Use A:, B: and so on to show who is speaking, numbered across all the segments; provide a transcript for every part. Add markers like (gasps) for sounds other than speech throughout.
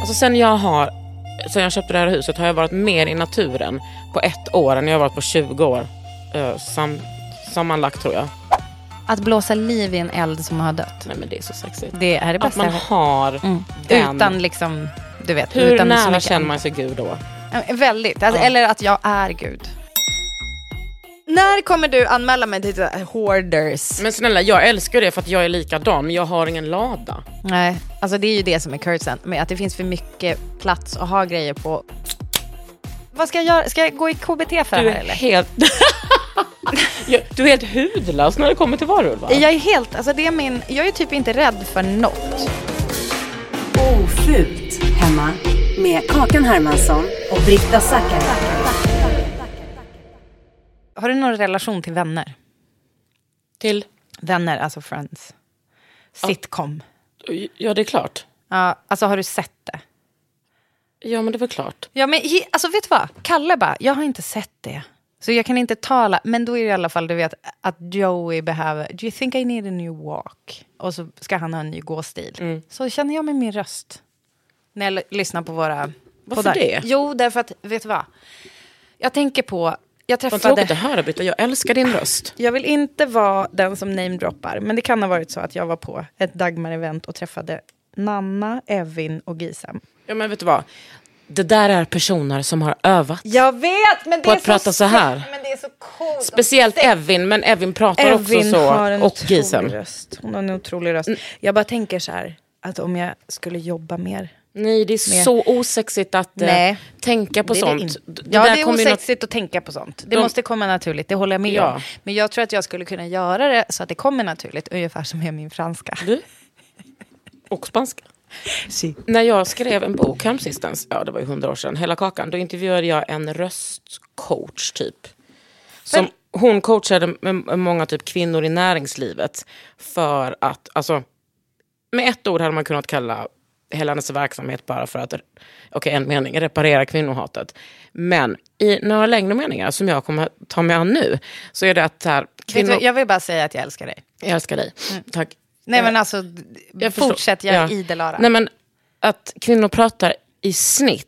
A: Alltså sen jag har, sen jag köpte det här huset har jag varit mer i naturen på ett år än jag har varit på 20 år. Eh, sam, sammanlagt tror jag.
B: Att blåsa liv i en eld som har dött.
A: Nej men det är så sexigt.
B: Det är det
A: Att
B: bästa. Mm.
A: man har den.
B: Utan liksom, du vet.
A: Hur
B: utan så
A: nära
B: mycket-
A: känner man sig Gud då?
B: Ja, Väldigt. Alltså,
A: Ja.
B: Eller att jag är Gud. När kommer du anmäla mig till eh, hoarders?
A: Men snälla jag älskar det för att jag är likadan men jag har ingen lada.
B: Nej, alltså det är ju det som är kursen. Men att det finns för mycket plats att ha grejer på. Vad ska jag göra? Ska jag gå i KBT för
A: Du
B: det
A: är
B: här eller?
A: helt... (laughs) Jag- du är helt hudlös när det kommer till varulvar.
B: Jag är helt, alltså det är min, jag är typ inte rädd för något.
C: Ofult hemma med Kakan Hermansson och Britta Zackari.
B: Har du någon relation till vänner?
A: Till...
B: Vänner, alltså friends. Sitcom.
A: Ja det är klart.
B: Ja, alltså har du sett det?
A: Ja men det är väl klart.
B: Ja, men he- alltså vet du vad? Kalle bara, jag har inte sett det. Så jag kan inte tala, men då är det i alla fall, du vet, att Joey behöver, do you think I need a new walk? Och så ska han ha en ny gåstil.
A: Mm.
B: Så känner jag med min röst. När jag l- lyssnar på våra
A: Varför
B: poddar.
A: det?
B: Jo, därför att, vet du vad? Jag tänker på, jag
A: Vad tråkigt
B: träffade...
A: att höra Britta, jag älskar din röst.
B: Jag vill inte vara den som namedroppar, men det kan ha varit så att jag var på ett Dagmar-event och träffade Nanna, Evin och Gisam.
A: Ja men vet du vad? Det där är personer som har övat.
B: Jag vet, men det
A: På
B: är
A: att prata så här.
B: snyggt, Men det är så coolt.
A: Speciellt Evin, men Evin pratar också så.
B: har
A: och Mm.
B: en otrolig
A: Gisem.
B: röst. Hon har en otrolig röst. Jag bara tänker så här, att om jag skulle jobba mer.
A: Nej, det är
B: Med-
A: så osexigt att eh,
B: Nej.
A: tänka på
B: det är det
A: sånt.
B: in-
A: D-
B: ja,
A: där
B: det är
A: kommer ju något-
B: osexigt att tänka på sånt. Det
A: De-
B: måste komma naturligt, det håller jag med
A: Ja.
B: om. Men jag tror att jag skulle kunna göra det så att det kommer naturligt, ungefär som med min franska.
A: Du? Och spanska. När jag skrev en bok häromsistens, ja det var ju hundra år sedan, Hela Kakan, då intervjuade jag en röstcoach typ. Som, hon coachade m- m- många typ kvinnor i näringslivet för att, alltså, med ett ord hade man kunnat kalla hela hennes verksamhet bara för att, okej en mening, reparera kvinnohatet. Men i några längre meningar som jag kommer ta mig an nu, så är det att så här,
B: Vet
A: kvinnor,
B: du, jag Mm. vill bara säga att jag älskar dig.
A: jag älskar dig, tack.
B: Nej
A: Eh,
B: men alltså,
A: jag förstår.
B: fortsätt, jag är
A: Ja.
B: idel öra.
A: Nej, men att kvinnor pratar i snitt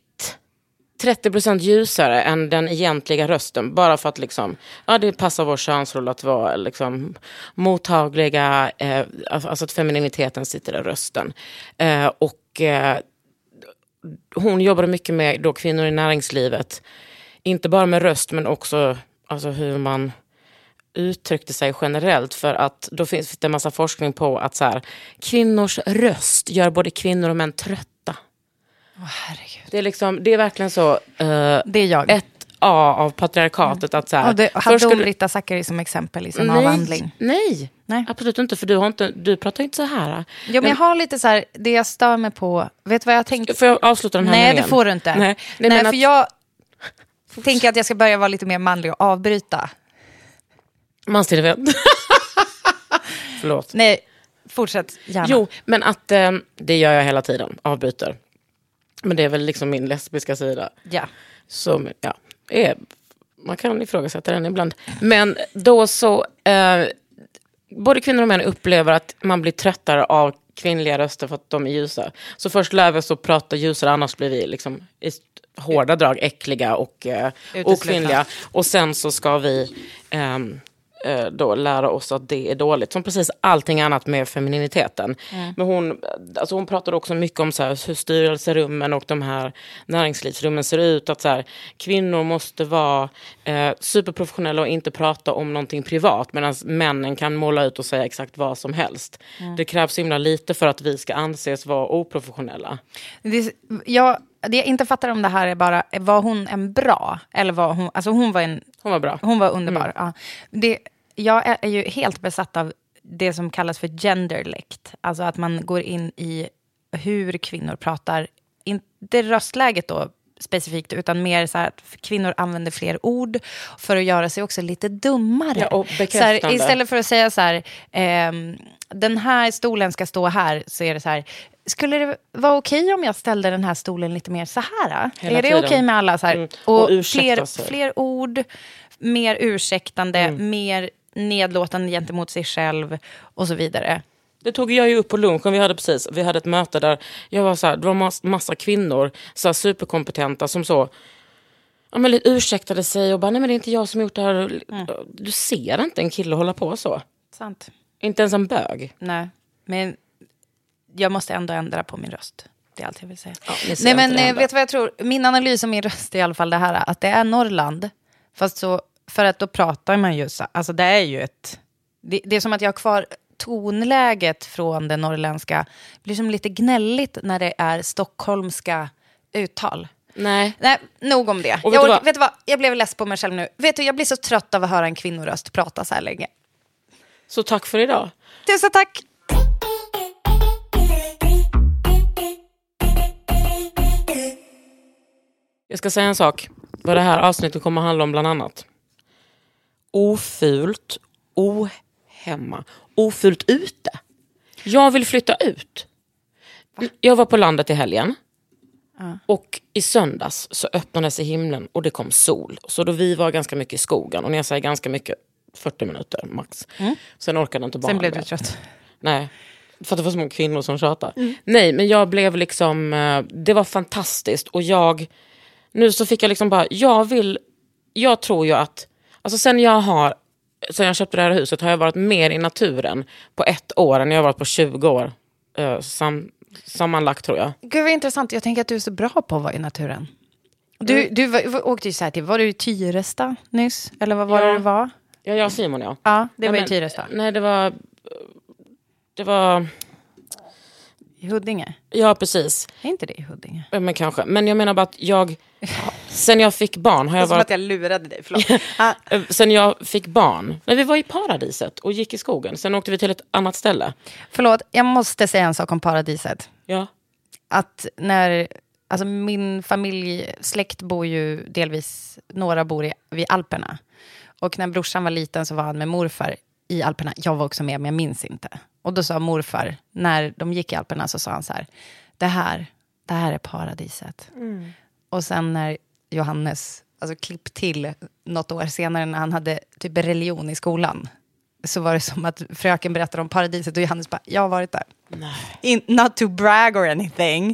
A: 30% ljusare än den egentliga rösten. Bara för att liksom, ja, det passar vår könsroll att vara liksom, mottagliga. Eh, alltså alltså att femininiteten sitter i rösten. Eh, och eh, hon jobbade mycket med då kvinnor i näringslivet. Inte bara med röst men också alltså, hur man uttryckte sig generellt. För att då finns det en massa forskning på att så här, kvinnors röst gör både kvinnor och män trötta.
B: Herregud.
A: Det är, liksom, det är verkligen så eh,
B: Det är jag.
A: ett A av patriarkatet. Att så här,
B: Ja, det, hade
A: först
B: hon
A: skulle-
B: Rita Zachary som exempel i sin
A: nej,
B: avhandling?
A: nej,
B: Nej.
A: absolut inte. För du, har inte, du pratar inte så här.
B: Jo, men jag har lite så här, det jag stör mig på, vet du vad jag tänkte?
A: Får jag avsluta den här
B: Nej,
A: meningen?
B: det får du inte.
A: Nej,
B: Nej,
A: nej, men
B: för
A: att,
B: jag tänker att jag ska börja vara lite mer manlig och avbryta. (laughs)
A: Mansdirigent. Förlåt.
B: Nej, Fortsätt gärna.
A: Jo, men att eh, det gör jag hela tiden, avbryter. Men det är väl liksom min lesbiska sida.
B: Ja.
A: Som, ja, är, man kan ifrågasätta den ibland. Men då så, eh, både kvinnor och män upplever att man blir tröttare av kvinnliga röster för att de är ljusa. Så först lär vi oss att prata ljusare, annars blir vi liksom i st- hårda drag äckliga och eh,
B: Uteslutna.
A: okvinnliga. Och sen så ska vi ehm, eh, då lära oss att det är dåligt. Som precis allting annat med femininiteten.
B: Mm.
A: Men hon, alltså hon pratade också mycket om så här, hur styrelserummen och de här näringslivsrummen ser ut. Att så här, kvinnor måste vara eh, superprofessionella och inte prata om någonting privat. Medan männen kan måla ut och säga exakt vad som helst.
B: Mm.
A: Det krävs himla lite för att vi ska anses vara oprofessionella.
B: Det, jag, det jag inte fattar om det här är bara, var hon en bra? Eller var hon, alltså hon var en...
A: Hon var bra.
B: Hon var underbar.
A: Mm.
B: Ja. Det, jag är, är ju helt besatt av det som kallas för genderlekt. Alltså att man går in i hur kvinnor pratar. Inte röstläget då specifikt, utan mer så här att kvinnor använder fler ord för att göra sig också lite dummare.
A: Ja, och
B: så här,
A: bekräftande.
B: istället för att säga så här, ehm, den här stolen ska stå här, så är det så här, skulle det vara okej om jag ställde den här stolen lite mer så här? då?
A: Hela
B: är det okej
A: tiden.
B: med alla? Så här?
A: Mm.
B: Och,
A: Och ursäkta
B: fler,
A: sig.
B: fler ord, mer ursäktande,
A: Mm.
B: mer nedlåtande gentemot sig själv och så vidare.
A: Det tog jag ju upp på lunchen. Vi hade precis vi hade ett möte där jag var så här, det var mas- massa kvinnor, så här superkompetenta, som så ja, men lite ursäktade sig och bara, nej men det är inte jag som gjort det här. Du ser inte en kille hålla på så.
B: Sant.
A: Inte ens en bög.
B: Nej, men jag måste ändå ändra på min röst. Det är allt jag vill säga.
A: ni ser
B: Nej,
A: inte
B: men
A: det
B: eh,
A: ändå.
B: vet du vad jag tror? Min analys och min röst är i alla fall det här, att det är Norrland. Fast så, för att då pratar man ju så, alltså det är ju ett... Det, det är som att jag har kvar tonläget från det norrländska. Det blir som lite gnälligt när det är stockholmska uttal.
A: Nej.
B: Nej, nog om det.
A: Och
B: jag,
A: vet du
B: orkar-
A: vad?
B: vet du vad? jag blev less på mig själv nu. Vet du, jag blir så trött av att höra en kvinnoröst prata så här länge.
A: Så tack för idag.
B: Tusen tack!
A: Jag ska säga en sak. Vad det här avsnittet kommer handla om bland annat. Ofult, ohemma, ofult ute. Jag vill flytta ut. Jag var på landet i helgen. Och i söndags så öppnades i himlen och det kom sol. Så då vi var ganska mycket i skogen. Och när jag säger ganska mycket, 40 minuter max. Sen orkade inte barnen.
B: Mm. Sen blev du
A: mer.
B: trött.
A: Nej. För att det var så många kvinnor som tjatar.
B: Mm.
A: Nej, men jag blev liksom... eh, Det var fantastiskt. Och jag... Nu så fick jag liksom bara... Jag vill... Jag tror ju att... Alltså sen jag har... Sen jag köpte det här huset har jag varit mer i naturen på ett år än jag har varit på 20 år. eh, Sam, sammanlagt tror jag.
B: Gud vad intressant, jag tänker att du är så bra på att vara i naturen. Du, du var, var- åkte ju så här till, var du i Tyresta nyss? Eller vad var det
A: Ja.
B: du var?
A: Ja, jag och Simon ja.
B: Ja, det var i
A: men-
B: Tyresta.
A: Nej, det var... Det var...
B: I Huddinge?
A: Ja, precis.
B: Är inte det i Huddinge?
A: Eh, Men kanske. Men jag menar bara att jag... Sen jag fick barn har
B: Det är
A: jag
B: som
A: varit...
B: att jag lurade dig, (laughs) förlåt. ah,
A: Eh, Sen jag fick barn. Nej, vi var i paradiset och gick i skogen. Sen åkte vi till ett annat ställe.
B: förlåt, jag måste säga en sak om paradiset.
A: Ja.
B: Att när, alltså min familj, släkt bor ju delvis, några bor i, vid Alperna. Och när brorsan var liten så var han med morfar i Alperna. Jag var också med, men jag minns inte. Och då sa morfar, när de gick i Alperna, så sa han så här, det här, det här är paradiset. Och sen när Johannes, alltså klipp till något år senare när han hade typ religion i skolan, så var det som att fröken berättade om paradiset och Johannes bara, jag har varit där. In, not to brag or anything,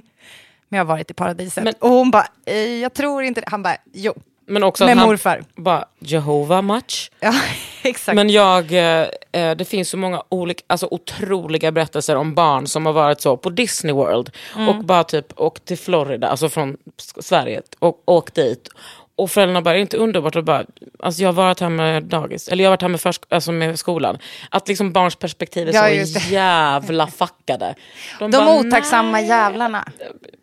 B: men jag har varit i paradiset.
A: Men-
B: och hon bara, "Eh, jag tror inte det. Han bara, jo. (laughs)
A: Men också
B: Med
A: att han
B: morfar.
A: bara, Jehova match.
B: Ja, (laughs) exakt.
A: Men jag, eh, eh, det finns så många olika, alltså otroliga berättelser om barn som har varit så på Disney World
B: Mm.
A: och bara typ åkt till Florida, alltså från S- Sverige och åkt dit. Och föräldrarna bara, är det inte underbart? Och bara, alltså jag har varit här med dagis, eller jag har varit här med, försk- alltså med skolan. Att liksom barns perspektiv är
B: Ja, just det.
A: så jävla
B: (laughs)
A: fuckade.
B: De
A: bara,
B: otacksamma
A: "Nej."
B: jävlarna.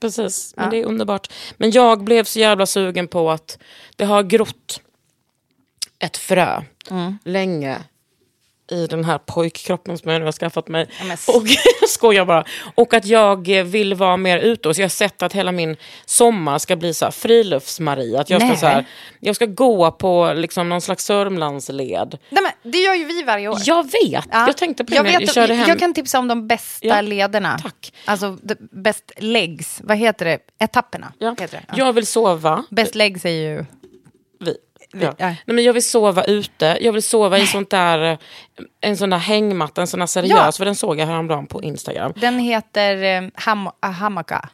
A: Precis, men det är underbart. Men jag blev så jävla sugen på
B: Mm.
A: att det har grott ett frö länge i den här pojkkroppen som jag nu har skaffat mig. och (laughs) jag skojar bara. Och att jag eh, vill vara mer ute. Så jag har sett att hela min sommar ska bli så här frilufts-Marie. Att jag ska,
B: Nej.
A: så här, jag ska gå på liksom någon slags Sörmlandsled.
B: Nej, men det gör ju vi varje år.
A: Jag vet. Jag tänkte på det
B: jag,
A: när vi
B: vet,
A: körde hem.
B: jag kan tipsa om de bästa
A: Ja.
B: lederna. Tack. Alltså the best legs, vad heter det? Etapperna. Heter det.
A: Jag vill sova.
B: Best legs är ju...
A: Vi. Ja. Nej, men jag vill sova ute, jag vill sova i sånt där, eh, en sån där hängmatta, en sån där seriös,
B: Ja.
A: för den såg jag häromdagen på Instagram.
B: Den heter eh, ham, ah, Hamaka.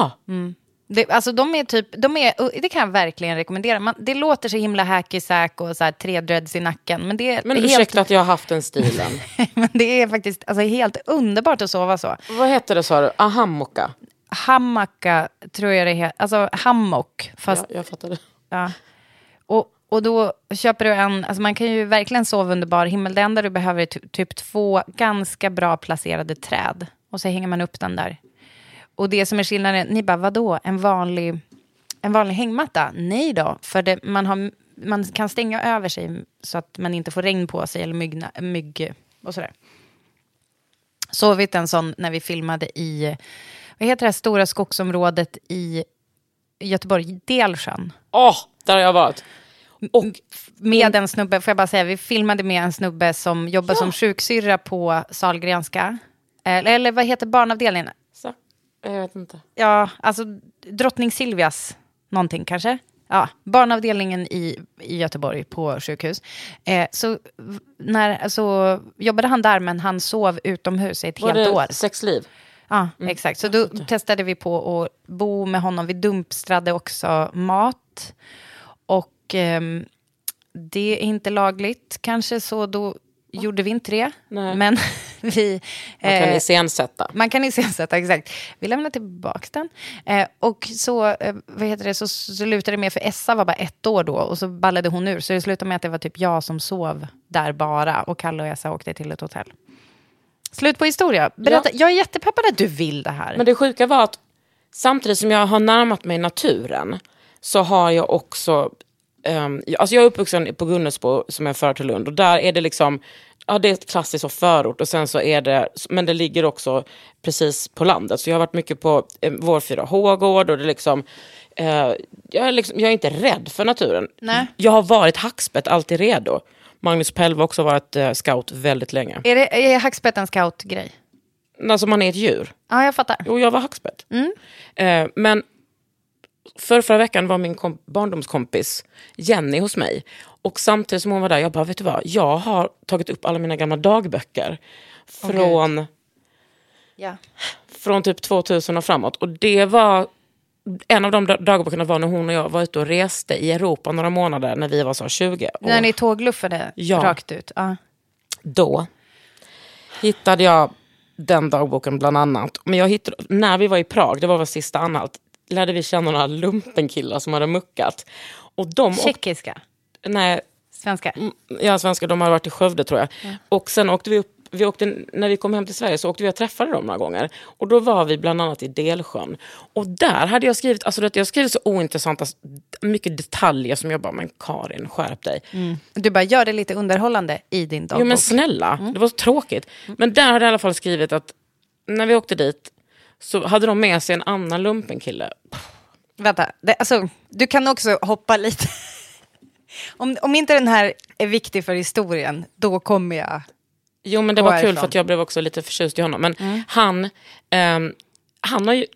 A: Ah.
B: Mm. Det, alltså de är typ, de är, och det kan jag verkligen rekommendera. Man, det låter så himla hacky sack och så här, tre dreads i nacken. Men det är,
A: Men
B: det är helt,
A: ursäkta att jag har haft den stilen.
B: (laughs) men det är faktiskt alltså, helt underbart att sova så.
A: (laughs) Vad heter det sa du? Ahammoka?
B: Hammaka tror jag det heter. Alltså hammock. Fast,
A: ja, jag fattade.
B: Ja. Och, och då köper du en, alltså man kan ju verkligen sova under bar himmel. Det enda du behöver är ty- typ två ganska bra placerade träd. Och så hänger man upp den där. Och det som är skillnaden, ni bara vadå, en vanlig, en vanlig hängmatta? Nej då, för det, man, har, man kan stänga över sig så att man inte får regn på sig eller myggna, mygg och sådär. Sovit en sån när vi filmade i, vad heter det här stora skogsområdet i Göteborg, Delsjön.
A: Åh, där har jag varit. Och
B: med en snubbe, får jag bara säga, vi filmade med en snubbe som jobbar som sjuksyrra på Sahlgrenska. Eller, eller vad heter barnavdelningen?
A: Så, jag vet inte.
B: Ja, alltså drottning Silvias någonting kanske? Ja, barnavdelningen i, i Göteborg på sjukhus. Eh, så, v- när, så jobbade han där, men han sov utomhus i ett
A: Var
B: helt år.
A: det sexliv?
B: Ja, exakt. Så då testade vi på att bo med honom. Vi dumpstrade också mat. Och ehm, det är inte lagligt kanske, så då gjorde vi inte det. Men (laughs) vi... eh,
A: Man kan iscensätta.
B: Man kan iscensätta, exakt. Vi lämnar tillbaka den. Eh, och så, eh, vad heter det, så slutade det med, för Essa var bara ett år då, och så ballade hon ur. Så det slutade med att det var typ jag som sov där bara, och Kalle och Essa åkte till ett hotell. Slut på historia. Berätta,
A: Ja.
B: jag är jättepeppad att du vill det här.
A: Men det sjuka var att samtidigt som jag har närmat mig naturen så har jag också... ehm, jag- alltså jag är uppvuxen på Gunnesbo som är en förort till Lund och där är det liksom... Ja, det är ett klassiskt och förort och sen så är det... Men det ligger också precis på landet. Så jag har varit mycket på eh, vår 4H-gård och det är liksom... eh, jag, är liksom jag är inte rädd för naturen.
B: Nej.
A: Jag har varit hackspett, alltid redo. Magnus Pelv har också varit eh, scout väldigt länge.
B: Är, det, är hackspett en scoutgrej?
A: Alltså man är ett djur.
B: Ja, jag fattar.
A: Jo, jag var hackspett.
B: Mm.
A: Eh, men för förra veckan var min kom- barndomskompis Jenny hos mig. Och samtidigt som hon var där, jag bara, vet du vad? Jag har tagit upp alla mina gamla dagböcker.
B: Åh,
A: Från,
B: Ja.
A: från typ 2000 och framåt. Och det var... En av de da- dagböckerna var när hon och jag var ute och reste i Europa några månader när vi var så här 20. Och
B: När ni tågluffade
A: Ja.
B: rakt ut? Ja.
A: då hittade jag den dagboken bland annat. Men jag hittade, när vi var i Prag, det var vår sista anhalt, lärde vi känna några lumpenkillar som hade muckat. Och Mm, de
B: Tjeckiska?
A: nej,
B: Svenska?
A: ja, svenskar, de hade varit i Skövde tror jag. Och sen åkte vi upp, vi åkte, när vi kom hem till Sverige så åkte vi och träffade dem några gånger. Och då var vi bland annat i Delsjön. Och där hade jag skrivit, alltså det, jag skrev så ointressanta, mycket detaljer som jag bara, men Karin skärp dig.
B: Du bara, gör det lite underhållande i din dagbok.
A: mm. Jo men snälla, det var så tråkigt. Men där hade jag i alla fall skrivit att när vi åkte dit så hade de med sig en annan lumpenkille.
B: Vänta, det, alltså, du kan också hoppa lite. (laughs) om, om inte den här är viktig för historien, då kommer jag...
A: Jo men det
B: Gå
A: var kul
B: härifrån. Mm.
A: för att jag blev också lite förtjust i honom. Men han, ehm, han har ju,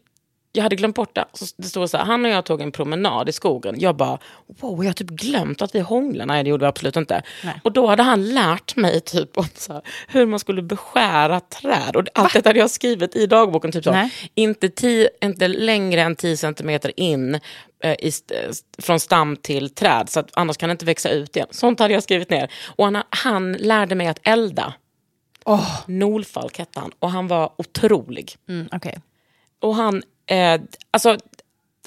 A: jag hade glömt bort det. Så det stod så här, han och jag tog en promenad i skogen. Jag bara, wow jag har typ glömt att vi hånglade. Nej det gjorde vi absolut inte. Och då hade han lärt mig typ om så här, hur man skulle beskära träd. Och allt detta hade jag skrivit i dagboken. Typ så.
B: Nej.
A: Inte, ti, inte längre än 10 centimeter in eh, i, st- st- från stam till träd. Så att annars kan det inte växa ut igen. Sånt hade jag skrivit ner. Och han, han lärde mig att elda. Nolfalk hette han och han var otrolig.
B: Mm, okej.
A: Och han, eh, alltså,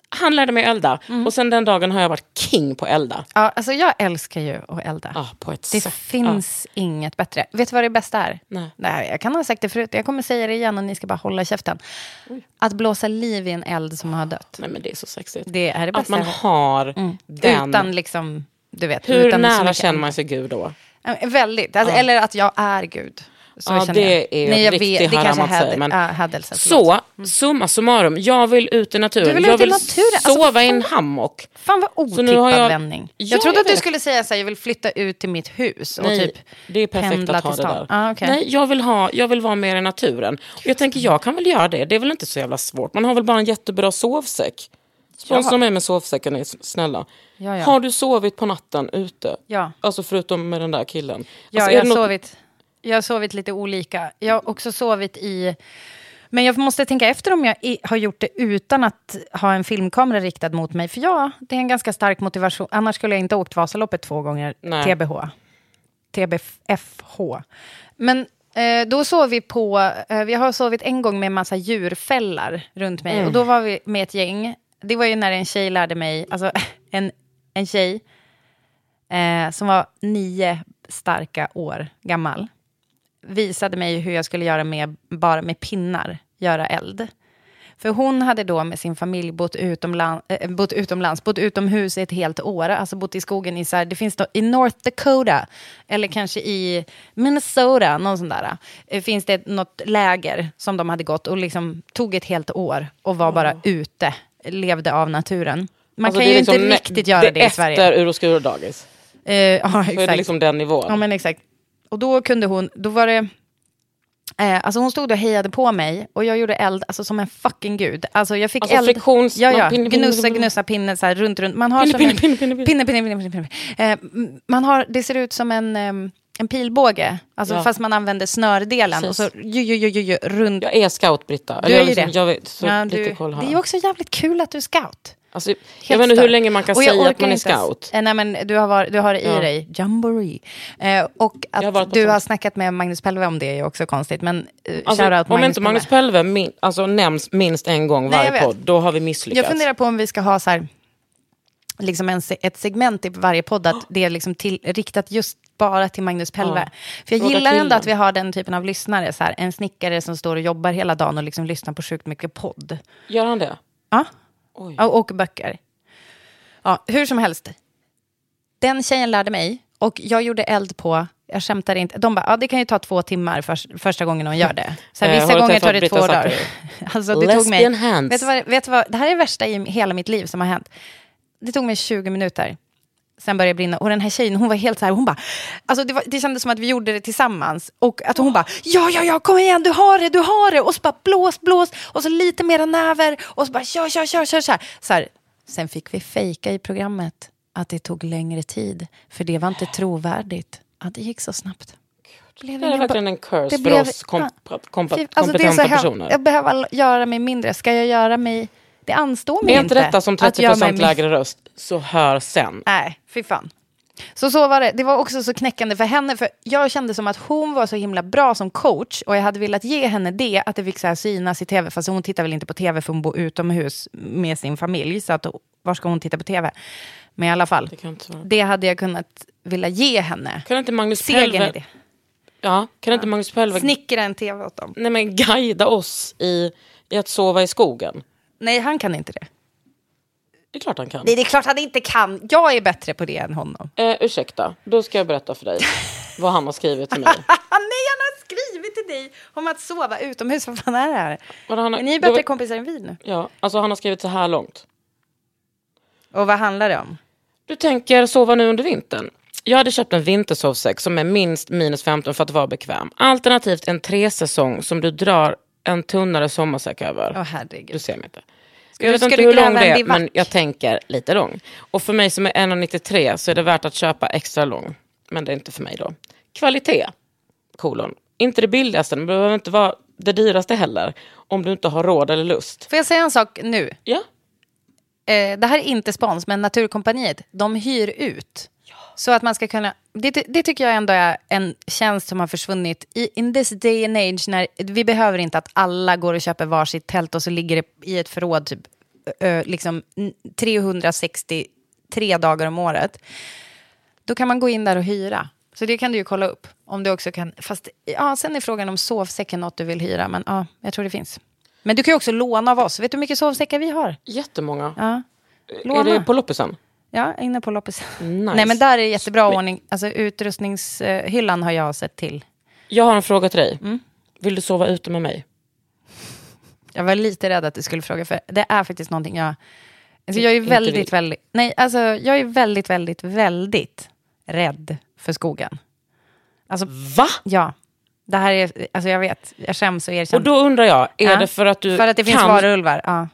A: han lärde mig att elda
B: Mm.
A: och sen den dagen har jag varit king på att elda.
B: Ja, alltså, jag älskar ju att elda.
A: Ja, på ett
B: det
A: sätt.
B: finns inget bättre. Vet du vad det bästa är?
A: Nej.
B: ah. Nej, jag kan ha sagt det förut, jag kommer säga det igen och ni ska bara hålla käften. Att blåsa liv i en eld som har dött.
A: Nej, men det är så sexigt.
B: Det är det bästa.
A: Att man
B: jag vet. Mm.
A: har den...
B: Utan liksom, du vet.
A: hur
B: utan så
A: nära
B: mycket
A: känner
B: annat.
A: man sig Gud då?
B: Eh, Väldigt. Alltså,
A: Ja.
B: Eller att jag är Gud. Så
A: ja,
B: känner jag.
A: det är
B: Nej,
A: en
B: jag
A: riktig
B: vet, det
A: haram
B: kanske
A: att
B: är
A: säga.
B: häd-
A: Men...
B: ja, hädelse. förlåt.
A: så, summa summarum, jag vill ut i naturen.
B: Mm. Du vill
A: jag
B: ut i
A: vill
B: naturen. Alltså,
A: sova i en hammock.
B: Fan vad
A: Så nu har
B: otippad
A: jag-
B: vändning.
A: Ja,
B: Jag trodde
A: jag
B: att du
A: vet.
B: skulle säga så här, jag vill flytta ut till mitt hus och
A: Nej,
B: typ
A: det är perfekt
B: pendla
A: att ha
B: till
A: det
B: stan.
A: där.
B: Ah, okej.
A: Nej, jag vill, ha, jag vill vara mer i naturen. Och jag tänker, jag kan väl göra det. Det är väl inte så jävla svårt. Man har väl bara en jättebra sovsäck. Sponsra
B: Ja.
A: mig med sovsäcken, är s- snälla.
B: Ja, ja.
A: Har du sovit på natten ute?
B: Ja.
A: Alltså förutom med den där killen.
B: Ja,
A: alltså, är
B: jag,
A: det
B: har
A: något-
B: sovit, jag har sovit lite olika. Jag har också sovit i... Men jag måste tänka efter om jag i, har gjort det utan att ha en filmkamera riktad mot mig. För ja, det är en ganska stark motivation. Annars skulle jag inte ha åkt Vasaloppet två gånger.
A: Nej.
B: TBH. TBFH. Men eh, då sov vi på... Eh, vi har sovit en gång med en massa djurfällar runt mig.
A: Mm.
B: Och då var vi med ett gäng. Det var ju när en tjej lärde mig... Alltså, (laughs) en, en tjej eh, som var nio starka år gammal visade mig hur jag skulle göra med, bara med pinnar, göra eld. För hon hade då med sin familj bott, utomland, eh, bott utomlands, bott utomhus i ett helt år, alltså bott i skogen i, så här, det finns då, i North Dakota, eller kanske i Minnesota, någon sån där. eh, Finns det något läger som de hade gått och liksom tog ett helt år och var bara ute, levde av naturen. Man
A: Alltså,
B: kan
A: det
B: ju
A: är liksom
B: inte
A: nä-
B: riktigt göra det, i Sverige.
A: Efter ur och skur-dagis.
B: Eh, ja,
A: Så är det
B: exakt.
A: liksom den nivån.
B: Ja, men exakt. Och då kunde hon, då var det... Eh, alltså hon stod och hejade på mig och jag gjorde eld alltså som en fucking gud. Alltså jag fick
A: Alltså
B: eld...
A: friktions-
B: Ja, ja.
A: man- pinne, pinne,
B: gnussa,
A: pinne.
B: gnussa, pinne, så här runt, runt. Man har
A: Pinne,
B: som
A: pinne,
B: en...
A: pinne, pinne, pinne.
B: pinne, pinne, pinne, pinne. Eh, m- man har, det ser ut som en, ehm, en pilbåge, alltså
A: Ja.
B: fast man använder snördelen.
A: Precis.
B: Och så ju, ju, ju, ju, ju, runt.
A: Jag är scout, Britta.
B: Du
A: jag,
B: är ju
A: liksom-
B: det.
A: Jag vet, så
B: Ja,
A: lite
B: du-
A: koll här.
B: det är ju också jävligt kul att du är scout.
A: Alltså, jag
B: Helt
A: vet inte hur
B: stört.
A: länge man kan
B: Och jag
A: säga att
B: orkar
A: man är
B: inte ens-
A: scout.
B: Eh, nej, men du, har varit, du har det i
A: Ja.
B: dig, jamboree. Eh, och
A: har varit
B: att
A: på
B: du
A: sånt.
B: har snackat med Magnus Pelve om det är ju också konstigt. Men eh,
A: Alltså, om
B: shoutout Magnus
A: inte Magnus
B: Pelve.
A: Pelve min, alltså, nämns minst en gång
B: Nej,
A: varje
B: jag vet.
A: podd, då har vi misslyckats.
B: Jag funderar på om vi ska ha så här, liksom en, se- ett segment i varje podd, att det är liksom till, riktat just bara till Magnus Pelve.
A: Ja.
B: För jag
A: Fråga
B: gillar ändå
A: killen.
B: att vi har den typen av lyssnare, så här, en snickare som står och jobbar hela dagen och liksom lyssnar på sjukt mycket podd.
A: Gör han det?
B: Ja.
A: Oj.
B: Ja, Och böcker. Ja, hur som helst. Den tjejen lärde mig och jag gjorde eld på, jag skämtar inte, de bara, ja det kan ju ta två timmar för, första gången hon gör det. Så här,
A: Eh, har
B: vissa
A: du
B: gånger
A: träffat
B: tar det två
A: Britta
B: dagar. (laughs) Alltså det tog mig,
A: Lesbian hands.
B: vet du, vad, vet du vad, det här är det värsta i hela mitt liv som har hänt. Det tog mig 20 minuter. Sen började jag brinna. Och den här tjejen, hon var helt så här, hon bara... Alltså det, var, det kändes som att vi gjorde det tillsammans. Och att hon bara, ja, ja, ja, kom igen, du har det, du har det. Och så bara blås, blås. Och så lite mera näver. Och så bara kör, kör, kör, kör. Så här. Så här. Sen fick vi fejka i programmet att det tog längre tid. För det var inte trovärdigt att det gick så snabbt. Blev
A: Det är
B: ingen
A: verkligen
B: ba-
A: en curse för oss kom-
B: ja.
A: kompa-
B: Fy- alltså, det är så
A: kompetenta
B: här-
A: personer.
B: Jag behöver all- göra mig mindre. Ska jag göra mig... Det anstår mig
A: är inte detta som
B: att göra mig
A: 30%
B: mindre.
A: lägre röst, så hör sen.
B: Nej, fy fan. Så så var det. Det var också så knäckande för henne. För Jag kände som att hon var så himla bra som coach och jag hade velat ge henne det, att det fick så här synas i tv. Fast hon tittar väl inte på tv för hon bor utomhus med sin familj. Så att, var ska hon titta på tv? Men i alla fall,
A: Det kan inte vara.
B: det hade jag kunnat vilja ge henne.
A: Kan inte Magnus
B: Segern i
A: Pelve...
B: det.
A: Ja, kan inte Magnus Pelve...
B: Snickra en tv åt dem.
A: Nej men guida oss i, i att sova i skogen.
B: Nej, han kan inte det.
A: Det är klart han kan.
B: Nej, det är klart han inte kan. Jag är bättre på det än honom.
A: Eh, ursäkta, då ska jag berätta för dig vad han har skrivit till mig.
B: Ah, (laughs) nej, han har skrivit till dig om att sova utomhus. Vad fan är det här?
A: Vad han har-
B: Men ni är
A: det
B: bättre
A: var-
B: kompisar än vi nu.
A: Ja, alltså han har skrivit så här långt.
B: Och vad handlar det om?
A: Du tänker sova nu under vintern? Jag hade köpt en vintersovsäck som är minst minus 15 för att vara bekväm. Alternativt en tresäsong som du drar en tunnare sommarsäck över.
B: Åh
A: Du
B: herregud.
A: ser mig inte.
B: Ska
A: jag
B: du-
A: vet
B: ska
A: inte
B: du
A: hur lång
B: gräva
A: det
B: en
A: är,
B: bivack?
A: men jag tänker lite lång. Och för mig som är 1,93 så är det värt att köpa extra lång. Men det är inte för mig då. Kvalitet, kolon. Inte det billigaste, men det behöver inte vara det dyraste heller. Om du inte har råd eller lust.
B: Får jag säga en sak nu?
A: Ja,
B: Eh, det här är inte spons, men Naturkompaniet, de hyr ut. Så att man ska kunna... Det, ty- det tycker jag ändå är en tjänst som har försvunnit. I, in this day and age, när vi behöver inte att alla går och köper varsitt tält och så ligger det i ett förråd typ, ö, liksom n- 363 dagar om året. Då kan man gå in där och hyra. Så det kan du ju kolla upp. Om du också kan... Fast ja, sen är frågan om sovsäcken något du vill hyra, men ja, jag tror det finns. Men du kan ju också låna av oss. Vet du hur mycket sovsäckar vi har?
A: jättemånga.
B: Ja.
A: Är
B: Låna.
A: det på loppisen?
B: Ja, inne på loppis.
A: Nice.
B: Nej, men där är det jättebra ordning. Alltså, utrustningshyllan har jag sett till.
A: Jag har en fråga till dig. Vill du sova ute med mig?
B: Jag var lite rädd att du skulle fråga, för det är faktiskt någonting jag... Alltså jag är
A: Inte vill.
B: väldigt, väldigt... Nej, alltså jag är väldigt, väldigt, väldigt rädd för skogen. Alltså,
A: Va?
B: Ja. Det här är... Alltså jag vet, jag skäms och erkänner.
A: Och då undrar jag, är
B: Ja.
A: det för att du
B: För att det finns
A: kan...
B: varulvar, ja.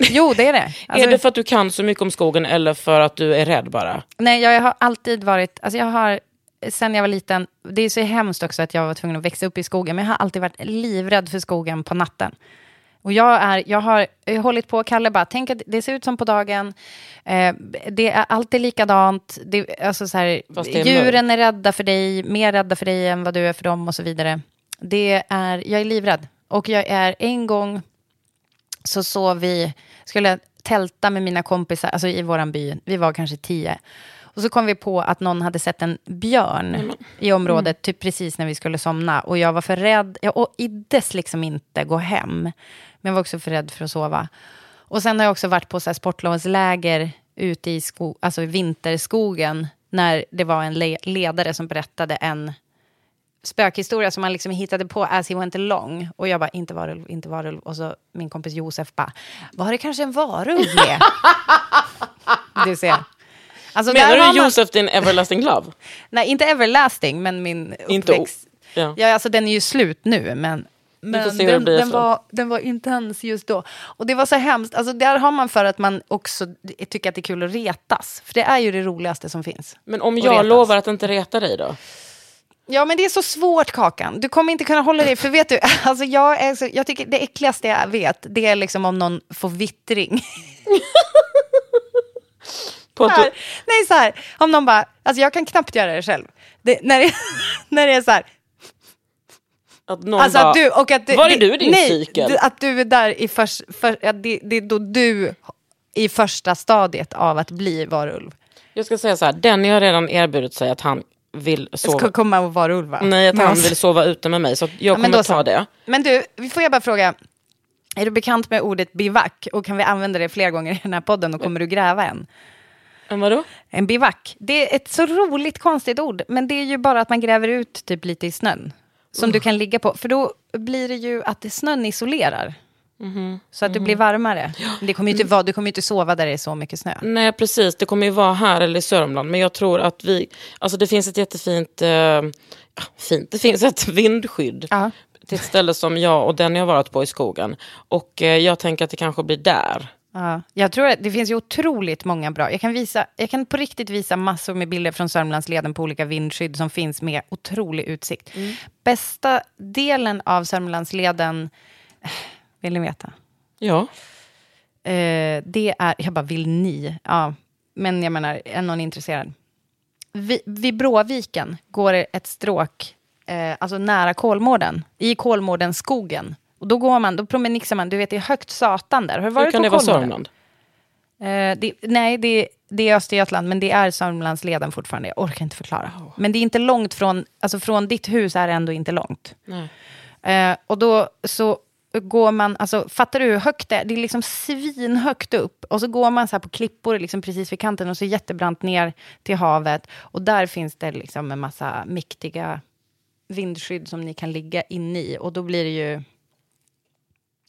B: Jo, det är det.
A: (laughs)
B: Alltså-
A: är det för att du kan så mycket om skogen eller för att du är rädd bara?
B: Nej, jag har alltid varit, alltså jag har, sen jag var liten, det är så hemskt också att jag var tvungen att växa upp i skogen, men jag har alltid varit livrädd för skogen på natten. Och jag, är, jag har eh, hållit på, Kalle bara, tänk att det ser ut som på dagen, eh, det är alltid likadant, det, alltså så här,
A: Fast det är
B: djuren är rädda för dig, mer rädda för dig än vad du är för dem och så vidare. Det är, jag är livrädd. Och jag är en gång, så sov vi, skulle jag tälta med mina kompisar, alltså i våran by, vi var kanske tio. Och så kom vi på att någon hade sett en björn i området, typ precis när vi skulle somna. Och jag var för rädd, jag och iddes liksom inte gå hem. Men jag var också för rädd för att sova. Och sen har jag också varit på så här sportlovsläger ute i, sko- alltså i vinterskogen, när det var en le- ledare som berättade en spökhistoria som han liksom hittade på as he went along. Och jag bara, inte varulv, inte varulv. Och så min kompis Josef bara, var det kanske en varulv
A: (laughs)
B: med? du ser. Alltså, där
A: Menar
B: har
A: du
B: man-
A: Josef din everlasting love?
B: Nej, inte everlasting, men min
A: Inte o-
B: uppväxt.
A: ja.
B: Ja, alltså den är ju slut nu, men...
A: får
B: Men
A: se hur det
B: den,
A: blir
B: den,
A: sen.
B: var, den var intens just då. Och det var så hemskt. Alltså, där har man för att man också tycker att det är kul att retas. För det är ju det roligaste som finns.
A: Men om
B: Att
A: jag
B: retas.
A: lovar att inte reta dig då?
B: Ja, men det är så svårt, Kakan. Du kommer inte kunna hålla dig. För vet du, (laughs) alltså jag, är så, jag tycker det äckligaste jag vet, det är liksom om någon får vittring.
A: På att
B: Så
A: du...
B: här, (laughs) nej, så här, om någon bara, alltså jag kan knappt göra det själv. Det, när, det, (laughs) när det är så här,
A: Att någon
B: alltså
A: bara,
B: att du, och att du,
A: var är
B: det-
A: du i din
B: nej,
A: cykel?
B: du- Att du är där i först, för, att det, det är då du i första stadiet av att bli varulv.
A: Jag ska säga så här, den jag redan erbjudit sig att han vill sova.
B: Ska komma och varulv, va?
A: Nej, att
B: Men
A: han
B: alltså-
A: vill sova ute med mig. Så att jag
B: Ja, men
A: kommer
B: då
A: ta
B: så.
A: det.
B: Men du, vi får jag bara fråga, är du bekant med ordet bivack och kan vi använda det fler gånger i den här podden och kommer du gräva en?
A: Men vadå?
B: En bivack, det är ett så roligt konstigt ord, men det är ju bara att man gräver ut typ lite i snön som du kan ligga på, för då blir det ju att det- snön isolerar. Så att det blir varmare. Men Det kommer ju inte vara, du kommer ju inte sova där det är så mycket snö.
A: Nej, precis. Det kommer ju vara här eller i Sörmland. Men jag tror att vi... Alltså det finns ett jättefint... Eh, ja, fint. Det finns ett (laughs) vindskydd.
B: Ja.
A: Till ett ställe som jag och den jag varit på i skogen. Och eh, jag tänker att det kanske blir där.
B: Ja, jag tror att det finns ju otroligt många bra. Jag kan, visa, jag kan på riktigt visa massor med bilder från Sörmlandsleden på olika vindskydd som finns med otrolig utsikt.
A: Mm.
B: Bästa delen av Sörmlandsleden, (sighs) vill ni veta?
A: Ja.
B: Eh, det är, jag bara, vill ni? Ja, men jag menar, är någon intresserad? Vid, vid Bråviken går det ett stråk, eh, alltså nära Kolmården, i Kolmårdens skogen. Och då går man, då promenixar man, du vet det är högt satan där. Har du varit
A: Hur kan
B: på
A: det vara
B: Kolmården?
A: Sörmland?
B: Eh, det, nej, det, det är Östergötland, men det är Sörmlandsleden fortfarande. Jag orkar inte förklara. Men det är inte långt från... Alltså från ditt hus är det ändå inte långt.
A: Nej.
B: Eh, och då så går man... Alltså, fattar du hur högt det är? Det är liksom svinhögt upp. Och så går man så här på klippor liksom precis vid kanten och så jättebrant ner till havet. Och där finns det liksom en massa mäktiga vindskydd som ni kan ligga inne i. Och då blir det ju...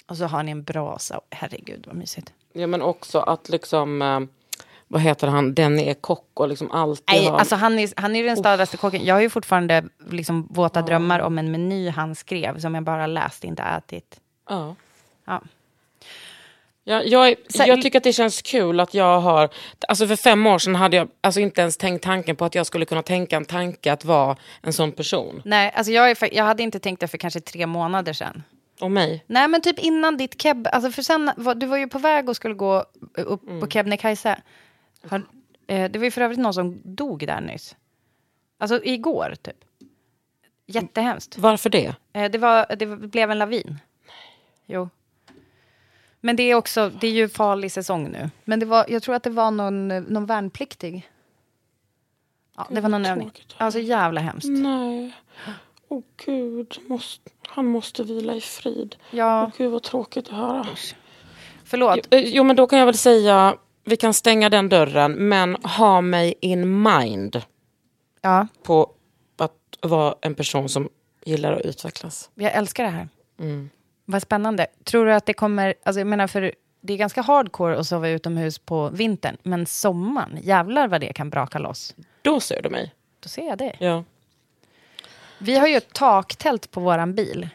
B: Och så har ni en brasa. Herregud, vad mysigt.
A: Ja, men också att liksom... Eh, vad heter han? Den är kock och liksom alltid
B: Nej,
A: har...
B: alltså han är, han är ju den stadigaste kocken. Jag har ju fortfarande liksom våta drömmar om en meny han skrev som jag bara läst, inte ätit.
A: Ja.
B: Ja.
A: Ja, jag, är-
B: Så-
A: jag tycker att det känns kul att jag har... Alltså för fem år sedan hade jag alltså inte ens tänkt tanken på att jag skulle kunna tänka en tanke att vara en sån person.
B: Nej, alltså jag, är, fa- jag hade inte tänkt det för kanske tre månader sedan.
A: Och mig.
B: Nej, men typ innan ditt keb... Alltså för sen, var, du var ju på väg och skulle gå eh, upp på Kebnekaise. Har, eh, det var ju för övrigt någon som dog där nyss. Alltså igår, typ. Jättehemskt.
A: Varför det?
B: Eh, Det, var, det blev en lavin. Jo. Men det är, också, det är ju farlig säsong nu. Men det var, jag tror att det var någon, eh, någon värnpliktig. Ja, det var någon övning. Alltså jävla hemskt.
A: Nej. Åh oh, gud, måste, han måste vila i frid.
B: Ja,
A: gud vad tråkigt att höra.
B: förlåt.
A: Eh, Jo men då kan jag väl säga vi kan stänga den dörren, men ha mig in mind
B: ja.
A: på att vara en person som gillar att utvecklas.
B: Jag älskar det här.
A: Mm.
B: Vad spännande. Tror du att det kommer... Alltså jag menar, för det är ganska hardcore att sova utomhus på vintern, men sommaren, jävlar vad det kan braka loss.
A: Då ser du mig.
B: Då ser jag dig.
A: Ja.
B: Vi har ju ett taktält på våran bil.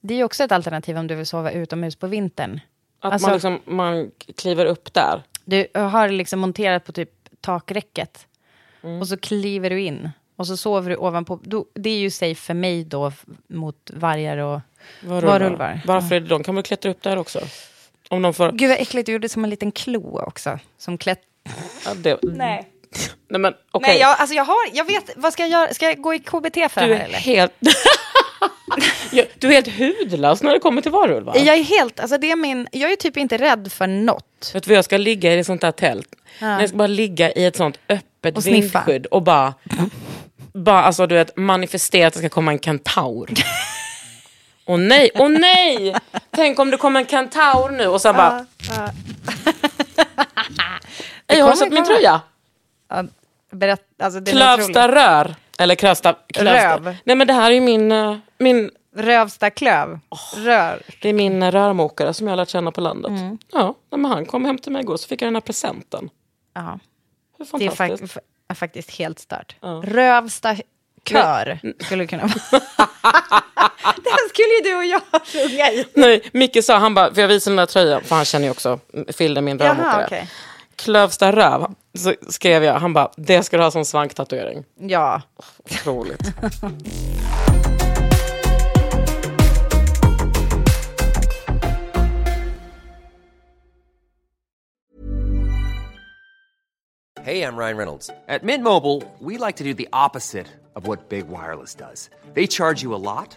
B: Det är ju också ett alternativ om du vill sova utomhus på vintern.
A: Att
B: Alltså-
A: man, liksom, man kliver upp där.
B: Du har liksom monterat på typ takräcket
A: Mm.
B: och så kliver du in och så sover du ovanpå. Då, det är ju safe för mig då f- mot vargar och varulvar.
A: Varför är det de? Kan man klättra upp där också? Om de får...
B: Gud vad äckligt, du gjorde som en liten klo också. Som klätt... Mm.
A: Ja, det...
B: Nej.
A: Nej men okej.
B: Nej, jag, alltså jag har, jag vet, vad ska jag göra? Ska jag gå i KBT för
A: Du
B: det
A: är
B: här eller?
A: helt... (laughs) Ja, du är helt hudlös när det kommer till varulvar.
B: Jag är helt, alltså det är min, jag är typ inte rädd för något.
A: Vet du vad jag ska ligga i ett sånt där tält? Nej, Jag ska bara ligga i ett sånt öppet
B: Och sniffa.
A: vindskydd och bara, bara alltså, du vet, manifestera att det ska komma en
B: (laughs)
A: kentaur. Åh nej, åh nej! Tänk om det kommer en kentaur nu och sen bara... "Ey, har du sett min
B: kommer.
A: tröja?
B: Ja, berätt, alltså det är
A: Klövsta
B: otroligt.
A: rör. Eller Klövsta... Klövsta.
B: Röv.
A: Nej men det här är ju min, eh, min,
B: Rövsta klöv. Rör.
A: det är min eh, rörmokare som jag har lärt känna på landet.
B: Mm.
A: Ja, nej, men han kom hem till mig igår så fick jag den här presenten.
B: Ja.
A: Hur
B: Det är,
A: fantastiskt.
B: fak- f- är faktiskt helt stört. Rövsta kör
A: Mm.
B: skulle det kunna vara. (laughs) Den skulle ju du och jag sjunga i.
A: Nej, Micke sa, han bara, för jag visade den där tröjan, för han känner ju också Filde, min
B: Jaha,
A: rörmokare.
B: okej.
A: Klövsta röv, så skrev jag, han bara, det ska du ha som svanktatuering.
B: Ja.
A: Otroligt.
D: Hey, I'm Ryan Reynolds. At Mint Mobile, we like to do the opposite of what Big Wireless does. They charge you a lot,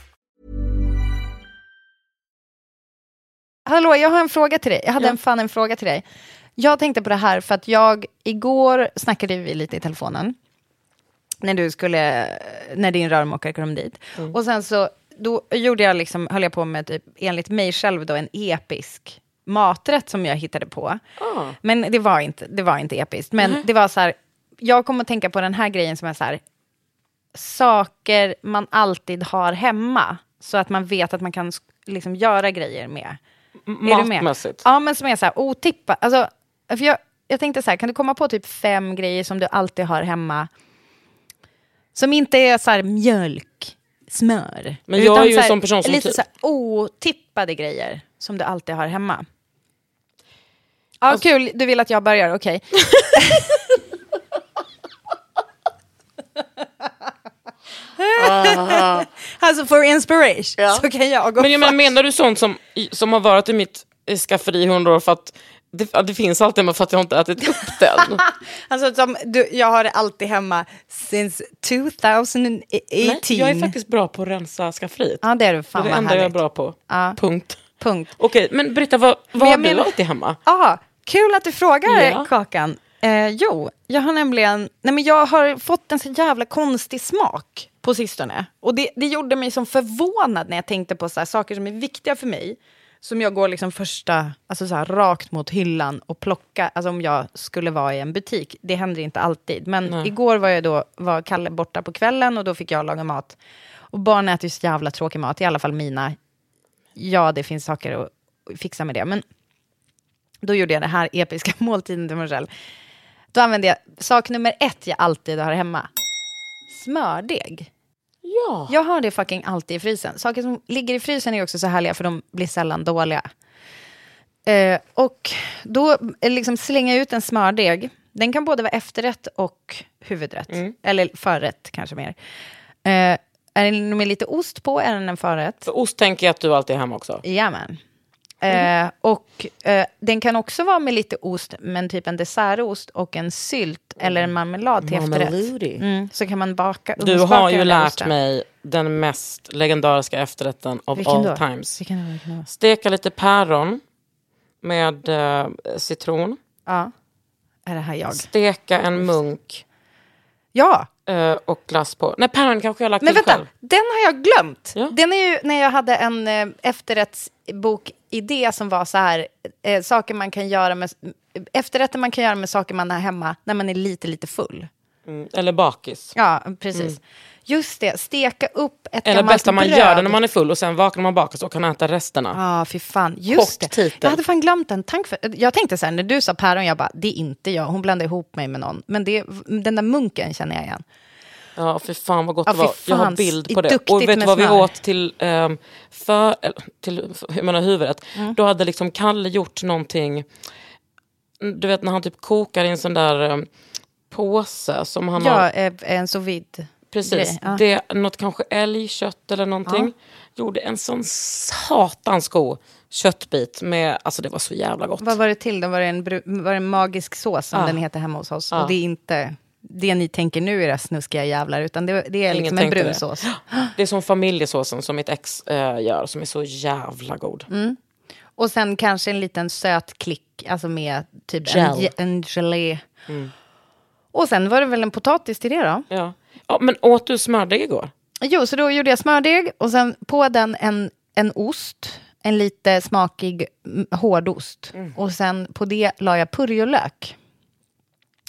B: Hallå, jag har en fråga till dig. Jag hade en fan en fråga till dig. Jag tänkte på det här för att jag, igår snackade vi lite i telefonen. När du skulle, när din rörmokare kom dit. Och sen så, då gjorde jag liksom, höll jag på med typ, enligt mig själv då, en episk maträtt som jag hittade på. Men det var inte, det var inte episkt. Men det var så här, jag kom att tänka på den här grejen som är så här, saker man alltid har hemma. Så att man vet att man kan sk- liksom göra grejer med. Är du med?
A: matmässigt.
B: Ja, men som är så här otippat. Alltså, för jag, jag tänkte så här, kan du komma på typ fem grejer som du alltid har hemma? Som inte är så här mjölk, smör.
A: Men jag är ju
B: så här,
A: en sån person som
B: Lite
A: typ-
B: så här otippade grejer som du alltid har hemma. Alltså- Ja, kul. Du vill att jag börjar, okej. (laughs) alltså for inspiration så kan jag gå
A: Men jag menar,
B: först.
A: menar du sånt som, som har varit i mitt eh, skafferi i hundra år för att det, att det finns alltid men för att jag inte ätit
B: (laughs)
A: upp den?
B: Alltså, som du, jag har det alltid hemma since 2018.
A: Nej, jag är faktiskt bra på att rensa skafferiet.
B: Ja, det är du
A: det är
B: fan
A: det
B: Ah, vad
A: enda jag är
B: härligt.
A: bra på.
B: Ja.
A: Punkt.
B: Punkt.
A: Okej, men Britta, vad, vad har
B: jag
A: du
B: menar-
A: alltid hemma?
B: Ja, kul att du frågar,
A: Ja.
B: Kakan. Eh, jo, jag har nämligen... Nej, men jag har fått en så jävla konstig smak på sistone. Och det, det gjorde mig som förvånad när jag tänkte på så här, saker som är viktiga för mig. Som jag går liksom första, alltså så här, rakt mot hyllan och plocka. Alltså om jag skulle vara i en butik. Det händer inte alltid. Men
A: Nej.
B: igår var jag då, var Kalle borta på kvällen och då fick jag laga mat. Och barn äter ju så jävla tråkig mat, i alla fall mina. Ja, det finns saker att fixa med det. Men då gjorde jag den här episka (laughs) måltiden till mig själv. Då använde jag sak nummer ett jag alltid har hemma. Smördeg.
A: Ja.
B: Jag har det fucking alltid i frysen. Saker som ligger i frysen är också så härliga för de blir sällan dåliga. Eh, och då eh, liksom slänga ut en smördeg. Den kan både vara efterrätt och huvudrätt. Eller förrätt kanske mer. Eh, är den med lite ost på är den en förrätt.
A: För ost tänker jag att du alltid är hemma också.
B: Jajamän. Eh, och eh, den kan också vara med lite ost, men typ en dessertost och en sylt eller en marmelad till efterrätt.
A: Marmeladi.
B: Mm, så kan man baka
A: Du har
B: ugnsbaka
A: ju
B: den där
A: lärt
B: osten.
A: mig den mest legendariska efterrätten of
B: Vilken
A: all
B: då?
A: times.
B: Vilken då? Vilken då?
A: Steka lite päron med eh, citron.
B: Ja. Är det här jag?
A: Steka en munk.
B: Ja.
A: Eh, och glass på. Nej, päron kanske jag har lagt
B: Men
A: till
B: vänta,
A: själv.
B: den har jag glömt. Den är ju när jag hade en eh, efterrättsbokidé som var så här, eh, saker man kan göra med, efterrätter man kan göra med saker man har hemma när man är lite, lite full.
A: Mm, eller bakis.
B: Ja, precis.
A: Mm.
B: Just det, steka upp ett
A: Eller
B: gammalt
A: bästa man
B: bröd.
A: gör det när man är full och sen vaknar man bakis och kan äta resterna.
B: Ja, fy fan. Just
A: Kort
B: det.
A: titel.
B: Jag hade fan glömt den. Tack för, jag tänkte så här, när du sa päron, jag bara, det är inte jag. Hon blandade ihop mig med någon. Men det, den där munken känner jag igen.
A: Ja, fy fan vad gott
B: Ja,
A: det var.
B: fy
A: Jag har
B: fan,
A: bild
B: i-
A: på det.
B: duktigt
A: Och vet du
B: med
A: vad vi
B: smör.
A: åt till, ehm, för, eller, till för- jag menar, huvudet?
B: Mm.
A: Då hade liksom Kalle gjort någonting, du vet när han typ kokar i en sån där ehm, påse som han
B: ja,
A: har.
B: eh, en sous vide
A: Precis,
B: Ja.
A: det, något kanske älgkött eller någonting. Gjorde en sån satans god köttbit med, alltså det var så jävla gott.
B: Vad var det till då? Var det en, bru- var det en magisk sås som
A: Ja.
B: den heter hemma hos oss?
A: Ja.
B: Och det är inte det ni tänker nu era snuskiga jävlar, utan det, det är
A: Ingen
B: liksom en
A: tänkte
B: brun
A: det.
B: sås.
A: (gasps) Det är som familjesåsen som mitt ex eh, gör, som är så jävla god.
B: Mm. Och sen kanske en liten söt klick, alltså med typ en,
A: Gel. Mm.
B: ge- en gelé. Och sen var det väl en potatis till det då?
A: Ja. ja, men åt du smördeg igår?
B: Jo, så då gjorde jag smördeg och sen på den en, en ost. En lite smakig mm, hårdost.
A: Mm.
B: Och sen på det la jag purjolök.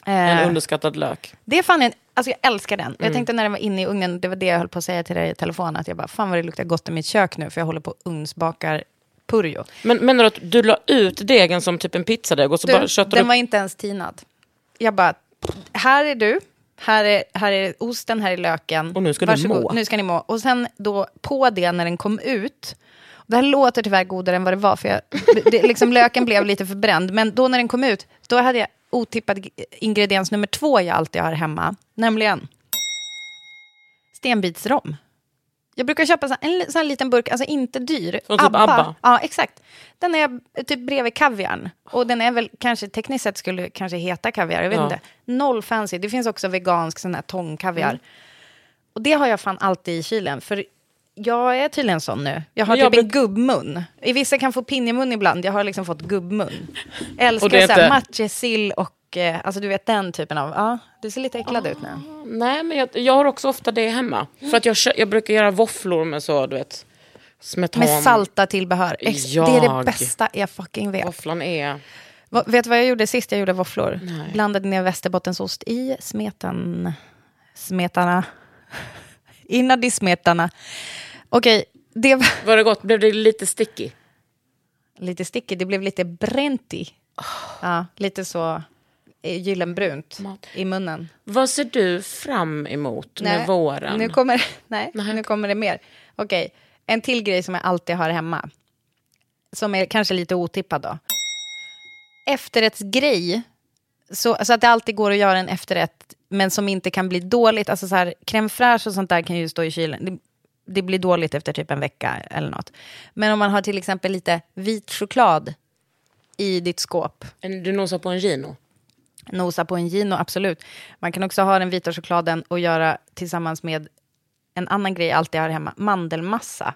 A: En
B: Eh,
A: underskattad lök.
B: Det är fan en, alltså jag älskar den. Jag
A: Mm.
B: tänkte när den var inne i ugnen, det var det jag höll på att säga till dig i telefon, att jag bara, fan vad det luktar gott i mitt kök nu, för jag håller på och ugnsbakar purjo.
A: Men menar du att du la ut degen som typ en pizzadeg och så bara
B: Du,
A: köttade
B: den
A: du...
B: var inte ens tinad. Jag bara, här är du, här är, här är osten, här är löken. Och
A: nu ska du må.
B: Nu ska ni må. Och sen då på det när den kom ut, och det här låter tyvärr godare än vad det var, för jag, det, liksom, löken blev lite förbränd, men då när den kom ut, då hade jag otippad g- ingrediens nummer två jag alltid har hemma, nämligen stenbitsrom. Jag brukar köpa så- en li- sån här liten burk, alltså inte dyr.
A: Från typ Abba.
B: Ja, exakt. Den är eh, typ bredvid kaviarn. Och den är väl kanske tekniskt sett skulle kanske heta kaviar, jag vet
A: Ja.
B: inte. Noll fancy. Det finns också vegansk sån här tångkaviar.
A: Mm.
B: Och det har jag fan alltid i kylen, för jag är tydligen sån nu. Jag har
A: Men jag
B: typ en gubbmun. I Vissa kan få pinjemun ibland, jag har liksom fått gubbmun. Älskar
A: Och det är
B: så här
A: inte-
B: matjessill och, eh, alltså du vet den typen av, ja, du ser lite äcklad ut nu.
A: Nej, men jag, jag har också ofta det hemma. För att jag, kö- jag brukar göra våfflor med så, du vet, smetan.
B: Med salta tillbehör. Ex- Det är det
A: Jag.
B: bästa jag fucking vet.
A: Våfflan är...
B: Va, vet du vad jag gjorde sist jag gjorde våfflor?
A: Nej.
B: Blandade ner västerbottensost i smeten... Smetarna. (laughs) Innan i smetarna. Okej, det var... (laughs)
A: Var det gott? Blev det lite sticky?
B: Lite sticky, det blev lite bränti. Ja, lite så eh, gyllenbrunt i munnen.
A: Vad ser du fram emot med våren?
B: Nu kommer, (laughs) nej, nu kommer det mer. Okej, en till grej som jag alltid har hemma. Som är kanske lite otippad då. Efterrättsgrej. Så, så att det alltid går att göra en efterrätt, men som inte kan bli dåligt. Alltså så här, crème fraîche och sånt där kan ju stå i kylen. Det, det blir dåligt efter typ en vecka eller något. Men om man har till exempel lite vit choklad i ditt skåp.
A: Du nosar på en gino?
B: Nosa på en gino, absolut. Man kan också ha den vita chokladen och göra tillsammans med en annan grej jag alltid har hemma, mandelmassa,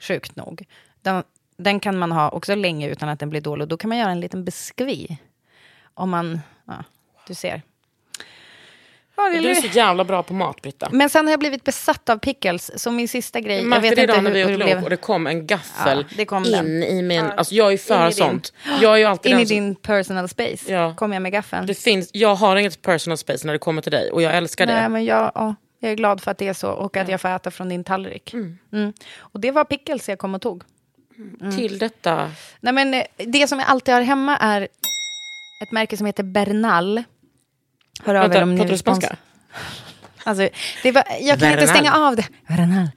B: sjukt nog. Den, den kan man ha också länge utan att den blir dålig. Och Då kan man göra en liten biskvi. Om man, ja, du ser. Ja, Ja, det
A: Du är så jävla bra på mat, Britta.
B: Men sen har jag blivit besatt av pickles, som min sista grej.
A: Jag
B: jag
A: vet
B: vet
A: idag
B: inte
A: när vi
B: hur, hur
A: åt
B: det
A: lunch och
B: blev.
A: det kom en gaffel
B: Ja, det kom
A: in
B: den.
A: i min... Alltså jag är ju
B: In i
A: för
B: din- (gasps)
A: sånt. Jag är ju alltid
B: In i
A: den som-
B: din personal space kom jag med gaffeln.
A: Det finns, jag har inget personal space när det kommer till dig och jag älskar
B: Nej,
A: det.
B: men jag, ja, jag är glad för att det är så och att jag får äta från din tallrik. Mm. Och det var pickles jag kom och tog. mm.
A: Till detta...
B: Nej, men eh, det som jag alltid har hemma är ett märke som heter Bernal. Hör av
A: Vänta,
B: er om ni
A: pratar du
B: respons-
A: spanska?
B: Alltså, det var, jag kan inte
A: Bernal.
B: stänga av det. Bernal.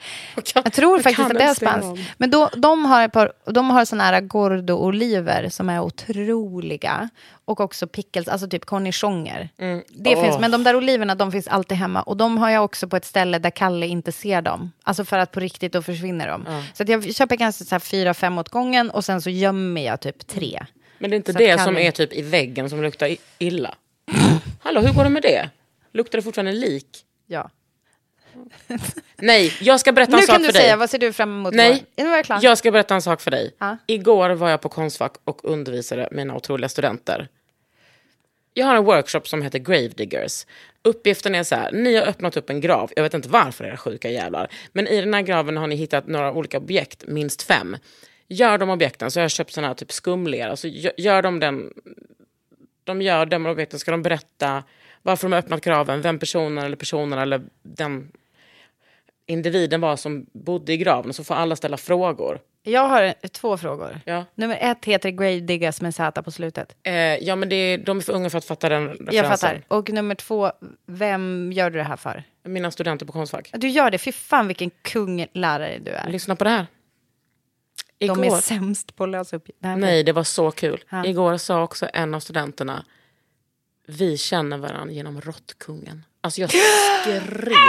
B: Jag tror faktiskt
A: kan
B: att det är
A: inte stänga
B: spanskt.
A: av.
B: Men då, de har, ett par, de har såna här gordo-oliver som är otroliga. Och också pickles, alltså typ cornichoner.
A: Mm.
B: Det
A: Åh.
B: finns, men de där oliverna de finns alltid hemma. Och de har jag också på ett ställe där Kalle inte ser dem. Alltså för att på riktigt då försvinner de. Så att jag köper kanske så här fyra, fem åt gången och sen så gömmer jag typ tre.
A: Men det är inte
B: Så att
A: det
B: kan-
A: som är typ i väggen som luktar i- illa. Hallå, hur går det med det? Luktar det fortfarande lik?
B: Ja.
A: Nej, jag ska berätta
B: Nu
A: en sak
B: kan du
A: för dig.
B: säga, vad ser du fram emot?
A: Nej,
B: nu är jag klar.
A: jag ska berätta en sak för dig.
B: Ja.
A: Igår var jag på Konstfack och undervisade mina otroliga studenter. Jag har en workshop som heter Gravediggers. Uppgiften är så här, ni har öppnat upp en grav. Jag vet inte varför era sjuka jävlar. Men i den här graven har ni hittat några olika objekt, minst fem. Gör de objekten, så har jag köpt sån här typ skumlera. Så gö- gör de den, de gör de objekten, ska de berätta varför de har öppnat graven, vem personen eller personerna eller den individen var som bodde i graven. Så får alla ställa frågor.
B: Jag har två frågor.
A: Ja.
B: Nummer ett heter Grave Diggers med Z på slutet.
A: Eh, ja, men det är, de är för unga för att fatta den referensen.
B: Jag fattar. Och nummer två, vem gör du det här för?
A: Mina studenter på Konstfack.
B: Du gör det, fy fan vilken kunglärare du är.
A: Lyssna på det här.
B: De är
A: Igår-
B: sämst på att lösa upp...
A: Nej, det var så kul.
B: Ja.
A: Igår sa också en av studenterna, vi känner varandra genom råttkungen. Alltså jag skrek.
B: (gasps)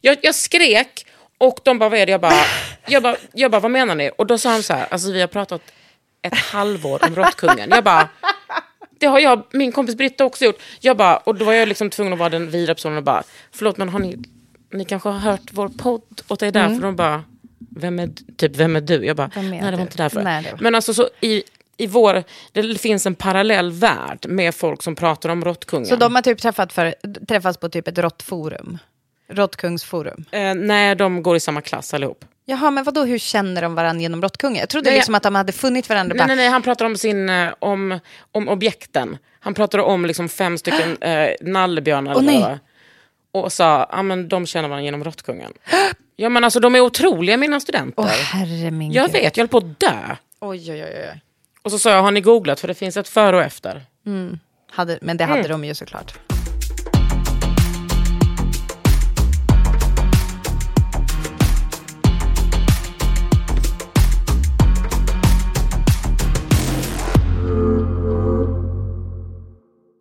A: Jag, jag skrek och de bara, vad är det? Jag
B: (laughs)
A: bara, jag bara, jag bara vad menar ni? Och då sa han så här, alltså vi har pratat ett halvår om råttkungen. Jag bara, det har jag, min kompis Britta också gjort. Jag bara, och då var jag liksom tvungen att vara den vidare personen och bara, förlåt men har ni, ni kanske har hört vår podd och det är därför
B: Mm.
A: de bara, vem är, typ, vem är du? Jag bara,
B: Vem är
A: nej det
B: du?
A: var inte därför.
B: Nej, det var-
A: Men alltså så i, i vår, det finns en parallell värld med folk som pratar om råttkungen.
B: Så de har typ träffat för, träffats på typ ett råttforum? Råttkungsforum?
A: eh, nej, de går i samma klass allihop.
B: Jaha, men vadå, hur känner de varandra genom råttkungen? Jag trodde
A: Nej, jag-
B: liksom att de hade funnit varandra.
A: Nej,
B: bara,
A: nej, nej, han pratar om, sin, eh, om, om objekten. Han pratade om liksom fem (gasps) stycken eh, nallebjörnar.
B: Åh,
A: eller vad det
B: nej.
A: var. Och sa, ja men de känner varandra genom (gasps) råttkungen. ja men alltså de är otroliga mina studenter.
B: Åh, herre min
A: jag
B: gud.
A: vet, jag höll på att dö.
B: Oj, oj, oj. oj.
A: Och så sa jag, har ni googlat? För det finns ett före och efter.
B: Mm. Hade, men det hade
A: Mm.
B: de ju såklart.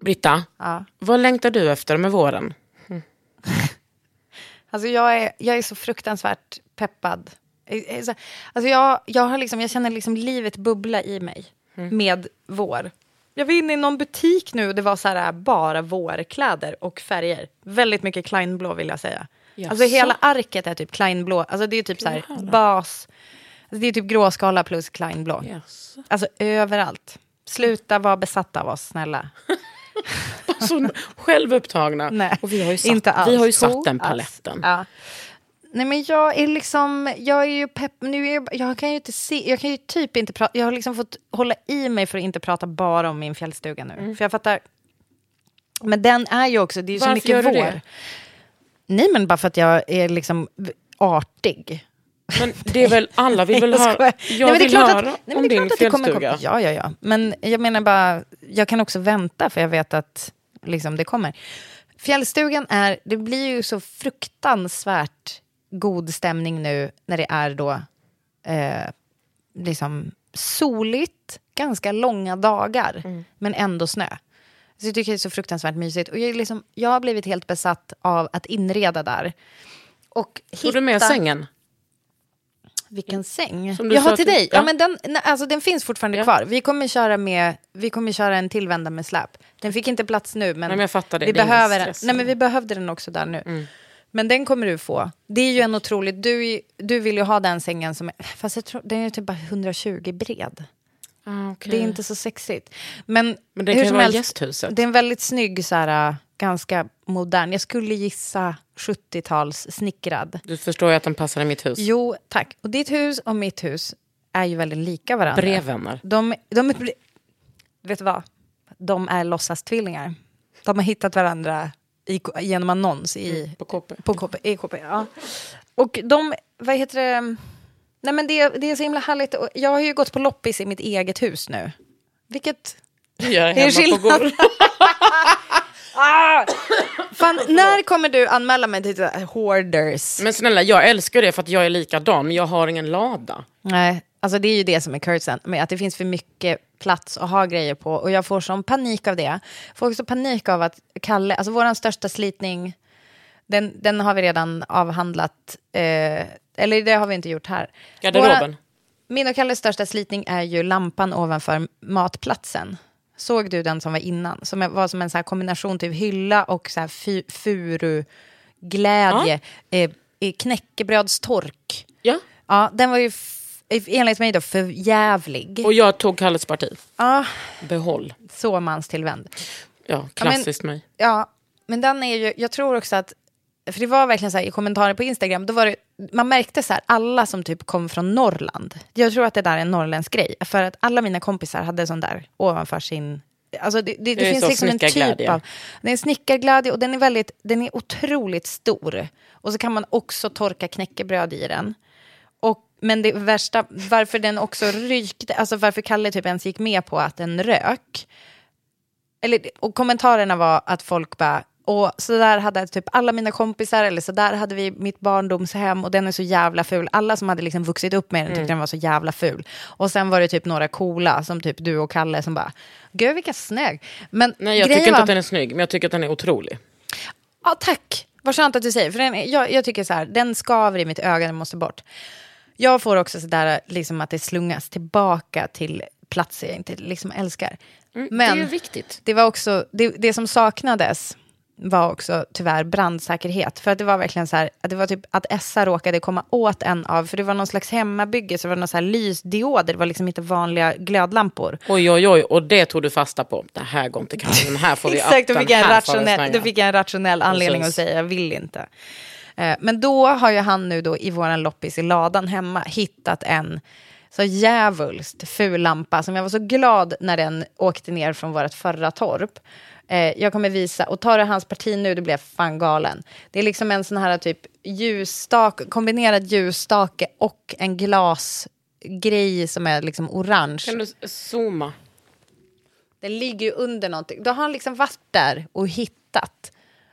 A: Britta,
B: Ja.
A: vad längtar du efter med våren?
B: Alltså jag är, jag är så fruktansvärt peppad. Eh, eh, så- Alltså jag, jag, har liksom, jag känner liksom livet bubbla i mig
A: Mm.
B: med vår. Jag var inne i någon butik nu och det var så här äh, bara vårkläder och färger. Väldigt mycket kleinblå vill jag säga.
A: Jaså?
B: Alltså hela arket är typ kleinblå. Alltså det är typ så här
A: Jaha.
B: bas. Alltså det är typ gråskala plus kleinblå.
A: Jaså.
B: Alltså överallt. Sluta vara besatta av oss, snälla.
A: Så självupptagna.
B: Nej,
A: och vi har ju satt,
B: inte alls.
A: vi har ju satt den
B: Toas.
A: paletten.
B: Ja. Nej, men jag är liksom... Jag är ju pepp... Nu är jag, jag kan ju inte se... Jag kan ju typ inte prata... Jag har liksom fått hålla i mig för att inte prata bara om min fjällstuga nu. För jag fattar... Men den är ju också... Det är ju
A: Mm. Varför
B: så mycket
A: gör du
B: vår.
A: det?
B: Nej, men bara för att jag är liksom artig.
A: Men det är väl, alla vill väl
B: (laughs) Jag
A: höra,
B: skojar. Nej,
A: jag
B: men det är
A: vill
B: klart att-
A: höra
B: nej, men
A: om
B: det är
A: din
B: klart att det kommer komma-
A: fjällstuga.
B: Ja, ja, ja. Men jag menar bara, jag kan också vänta för jag vet att liksom, det kommer. Fjällstugan är, det blir ju så fruktansvärt god stämning nu när det är då eh, liksom soligt, ganska långa dagar,
A: Mm.
B: men ändå snö. Så jag tycker det är så fruktansvärt mysigt. Och jag, är liksom, jag har blivit helt besatt av att inreda där. Och
A: Tog du med
B: hitta-
A: sängen?
B: vilken säng?
A: Mm. Som du
B: Jag
A: sa
B: har till
A: till-
B: dig. Ja.
A: ja.
B: men den, nej, alltså, den finns fortfarande kvar. Vi kommer, köra med, vi kommer köra en till vända med släp. Den fick inte plats nu, men,
A: Nej, men jag fattar det.
B: Vi,
A: Det är ingen
B: behöver den.
A: stress. Mm.
B: Nej, men vi behövde den också där nu. Men den kommer du få. Det är ju en otroligt... Du, är- du vill ju ha den sängen som är... Fast jag tror, den är typ bara 120 bred.
A: Ah, okej.
B: Det är inte så sexigt. Men,
A: Men det
B: hur
A: kan ju
B: som
A: vara
B: helst,
A: gästhuset.
B: Det är en väldigt snygg, så här, ganska modern. Jag skulle gissa 70-tals snickrad.
A: Du förstår ju att den passar i mitt hus.
B: Jo, tack. Och ditt hus och mitt hus är ju väldigt lika varandra.
A: Brevvänner.
B: De, de är, bre- vet du vad? De är låtsastvillingar. De har hittat varandra i, genom annons i,
A: Mm, på KP.
B: På KP, i KP ja. Och de, vad heter det? Nej men det, det är så himla härligt. Och Jag har ju gått på loppis i mitt eget hus nu. Vilket
A: Det gör jag
B: Det är
A: hemma på (laughs)
B: skillnad.
A: Gol.
B: (laughs) Ah! Fan, när kommer du anmäla mig till eh, hoarders?
A: Men snälla, jag älskar det för att jag är likadan, men jag har ingen lada.
B: Nej, alltså det är ju det som är cursen, med att det finns för mycket plats att ha grejer på och jag får sån panik av det. Får också panik av att Kalle, alltså vår största slitning, den, den har vi redan avhandlat, eh, eller det har vi inte gjort här.
A: Garderoben.
B: Våra, min och Kalles största slitning är ju lampan ovanför matplatsen. Såg du den som var innan? Som var som en så här kombination typ hylla och så här fu- furuglädje, eh, eh, knäckebrödstork.
A: Ja.
B: Ja, den var ju f- enligt mig då för jävlig.
A: Och jag tog Kalles parti.
B: Ja,
A: Behåll.
B: så manstillvänd.
A: Ja,
B: Ja, men-
A: klassiskt mig.
B: Ja, men den är ju, jag tror också att, för det var verkligen så här i kommentarer på Instagram, då var det, man märkte så här, alla som typ kom från Norrland, jag tror att det där är en norrländsk grej, för att alla mina kompisar hade sån där ovanför sin, alltså det, det, det,
A: är
B: finns
A: så
B: liksom en typ
A: snickarglädje.
B: av, det är en snickarglädje och den är väldigt, den är otroligt stor. Och så kan man också torka knäckebröd i den. Och, men det värsta, varför den också rykte, alltså varför Kalle typ ens gick med på att den rök. Eller, och kommentarerna var att folk bara, och så där hade typ alla mina kompisar, eller så där hade vi mitt barndomshem och den är så jävla ful. Alla som hade liksom vuxit upp med den tyckte
A: Mm.
B: den var så jävla ful. Och sen var det typ några coola, som typ du och Kalle, som bara, gud vilka snygg. Men
A: Nej, jag
B: grejen
A: tycker inte
B: var-
A: att den är snygg, men jag tycker att den är otrolig.
B: Ja, tack. Vad skönt att du säger. För den, är- jag, jag tycker så här, den skaver i mitt öga, den måste bort. Jag får också så där liksom att det slungas tillbaka till platser jag inte liksom älskar. Men
A: Mm, det är ju viktigt.
B: Det, var också, det, det som saknades var också tyvärr brandsäkerhet. För att det var verkligen så här, att det var typ att Essa råkade komma åt en av, för det var någon slags hemmabygge, så det var någon så här lysdioder, det var liksom inte vanliga glödlampor.
A: Oj, oj, oj, och det tog du fasta på. Det här går inte Kalle, den här får vi
B: (laughs) Exakt, då
A: upp,
B: fick,
A: den
B: jag en
A: här får vi
B: rationell,
A: slänga.
B: då fick jag en rationell anledning
A: Precis.
B: att säga jag vill inte. Eh, Men då har ju han nu då i våran loppis i ladan hemma hittat en så djävulskt ful lampa som jag var så glad när den åkte ner från vårt förra torp. Eh, Jag kommer visa, och tar du hans parti nu, du blir jag fan galen. Det är liksom en sån här typ ljusstake, kombinerad ljusstake och en glasgrej som är liksom orange.
A: Kan du zooma?
B: Den ligger ju under någonting. Då har han liksom varit där och hittat.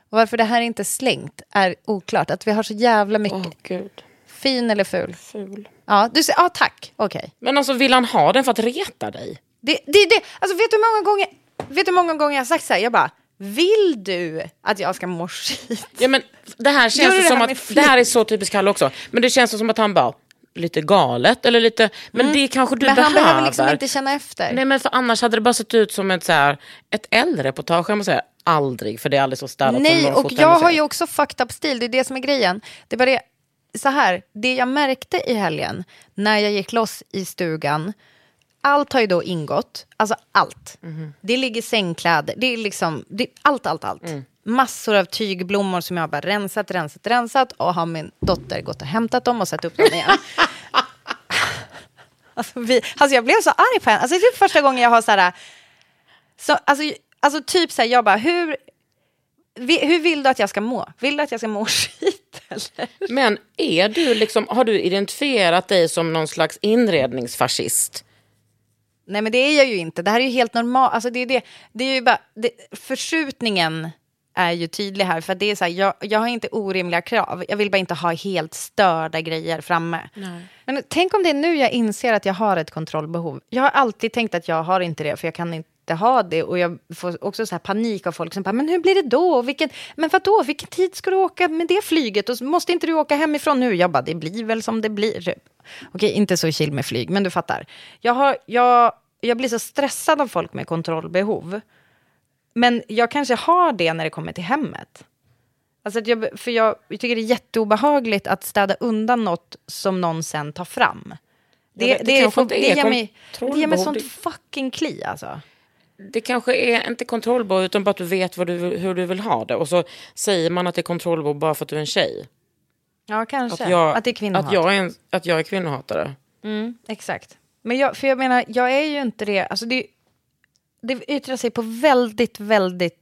B: Och varför det här inte är slängt är oklart. Att vi har så jävla mycket.
A: Gud.
B: Fin eller ful?
A: Ful.
B: Ja, du säger, ja tack, okej.
A: Men alltså, vill han ha den för att reta dig?
B: Det, det, det, alltså vet du hur många gånger, vet du hur många gånger jag har sagt så här? Jag bara, vill du att jag ska må skit?
A: Ja, men det här
B: Gör
A: känns
B: du
A: det
B: det
A: som
B: här med
A: att,
B: flit?
A: det här är så typiskt Kalle också, men det känns som att han bara, lite galet eller lite, men det kanske du
B: Mm. Men
A: behöver.
B: han behöver liksom inte känna efter.
A: Nej men för annars hade det bara sett ut som ett, så här, ett äldre-reportage, jag måste säga aldrig, för det är aldrig så städat. som
B: Nej,
A: någon
B: och
A: fotar
B: jag
A: hemma
B: har
A: sig.
B: ju också fucked up stil. Det är det som är grejen. Det är bara det, så här, det jag märkte i helgen när jag gick loss i stugan, allt har ju då ingått, alltså allt. Det ligger sängkläder, det är liksom, det, allt, allt, allt. Massor av tygblommor som jag har bara rensat, rensat, rensat och har min dotter gått och hämtat dem och satt upp dem igen. (laughs) alltså, vi, alltså jag blev så arg på henne. Alltså, det är typ första gången jag har så här, så, alltså, alltså typ så här, jag bara, hur, vi, hur vill du att jag ska må? Vill du att jag ska må (laughs) skit? Eller?
A: Men är du liksom, har du identifierat dig som någon slags inredningsfascist?
B: Nej, men det är jag ju inte. Det här är ju helt normalt. Alltså, det är det. Det är ju bara, det, förskjutningen är ju tydlig här. För att det är så här, jag, jag har inte orimliga krav. Jag vill bara inte ha helt störda grejer framme. Men tänk om det är nu jag inser att jag har ett kontrollbehov. Jag har alltid tänkt att jag har inte det, för jag kan inte ha det. Och jag får också så här panik av folk som bara, men hur blir det då? Vilken, men vad då? Vilken tid ska du åka med det flyget? Och så måste inte du åka hemifrån nu? Jag bara, det blir väl som det blir. typ." Okej, inte så chill med flyg, men du fattar. Jag, har, jag, jag blir så stressad av folk med kontrollbehov. Men jag kanske har det när det kommer till hemmet. Alltså att jag, för jag, jag tycker det är jätteobehagligt att städa undan något som någon sen tar fram. Det,
A: Ja, det-
B: det,
A: det kanske
B: får-
A: inte
B: det
A: är
B: ger mig, det ger mig
A: kontrollbehov,
B: sånt
A: det-
B: fucking kli alltså.
A: det kanske är inte controllable utan bara att du vet vad du, vill- hur du vill ha det. Och så säger man att det är controllable bara för att du är en tjej.
B: Ja, kanske.
A: Att, jag,
B: det är kvinnohat.
A: Att jag är, en, att jag är kvinnohatare.
B: Mm, exakt. Men jag, för jag menar, jag är ju inte det. Alltså det, det yttrar sig på väldigt, väldigt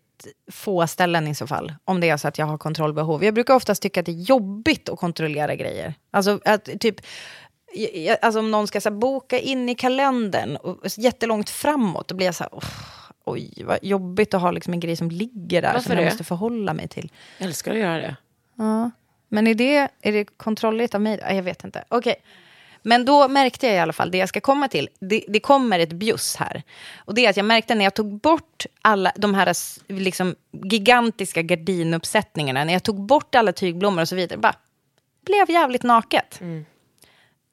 B: få ställen i så fall. Om det är så att jag har kontrollbehov. Jag brukar oftast tycka att det är jobbigt att kontrollera grejer. Alltså att typ... jag- jag- Alltså om någon ska så här, boka in i kalendern och, jättelångt framåt, då blir jag så här... "Åh, oj, vad jobbigt att ha liksom en grej som ligger där
A: Varför
B: som jag
A: det?
B: måste förhålla mig till.
A: Jag älskar att göra det.
B: Ja. Men är det, är det kontrolligt av mig? då? Jag vet inte. Okej. Men då märkte jag i alla fall, det jag ska komma till, det, det kommer ett bjuss här. Och det är att jag märkte när jag tog bort alla de här s- liksom, gigantiska gardinuppsättningarna, när jag tog bort alla tygblommor och så vidare, bara blev jävligt naket.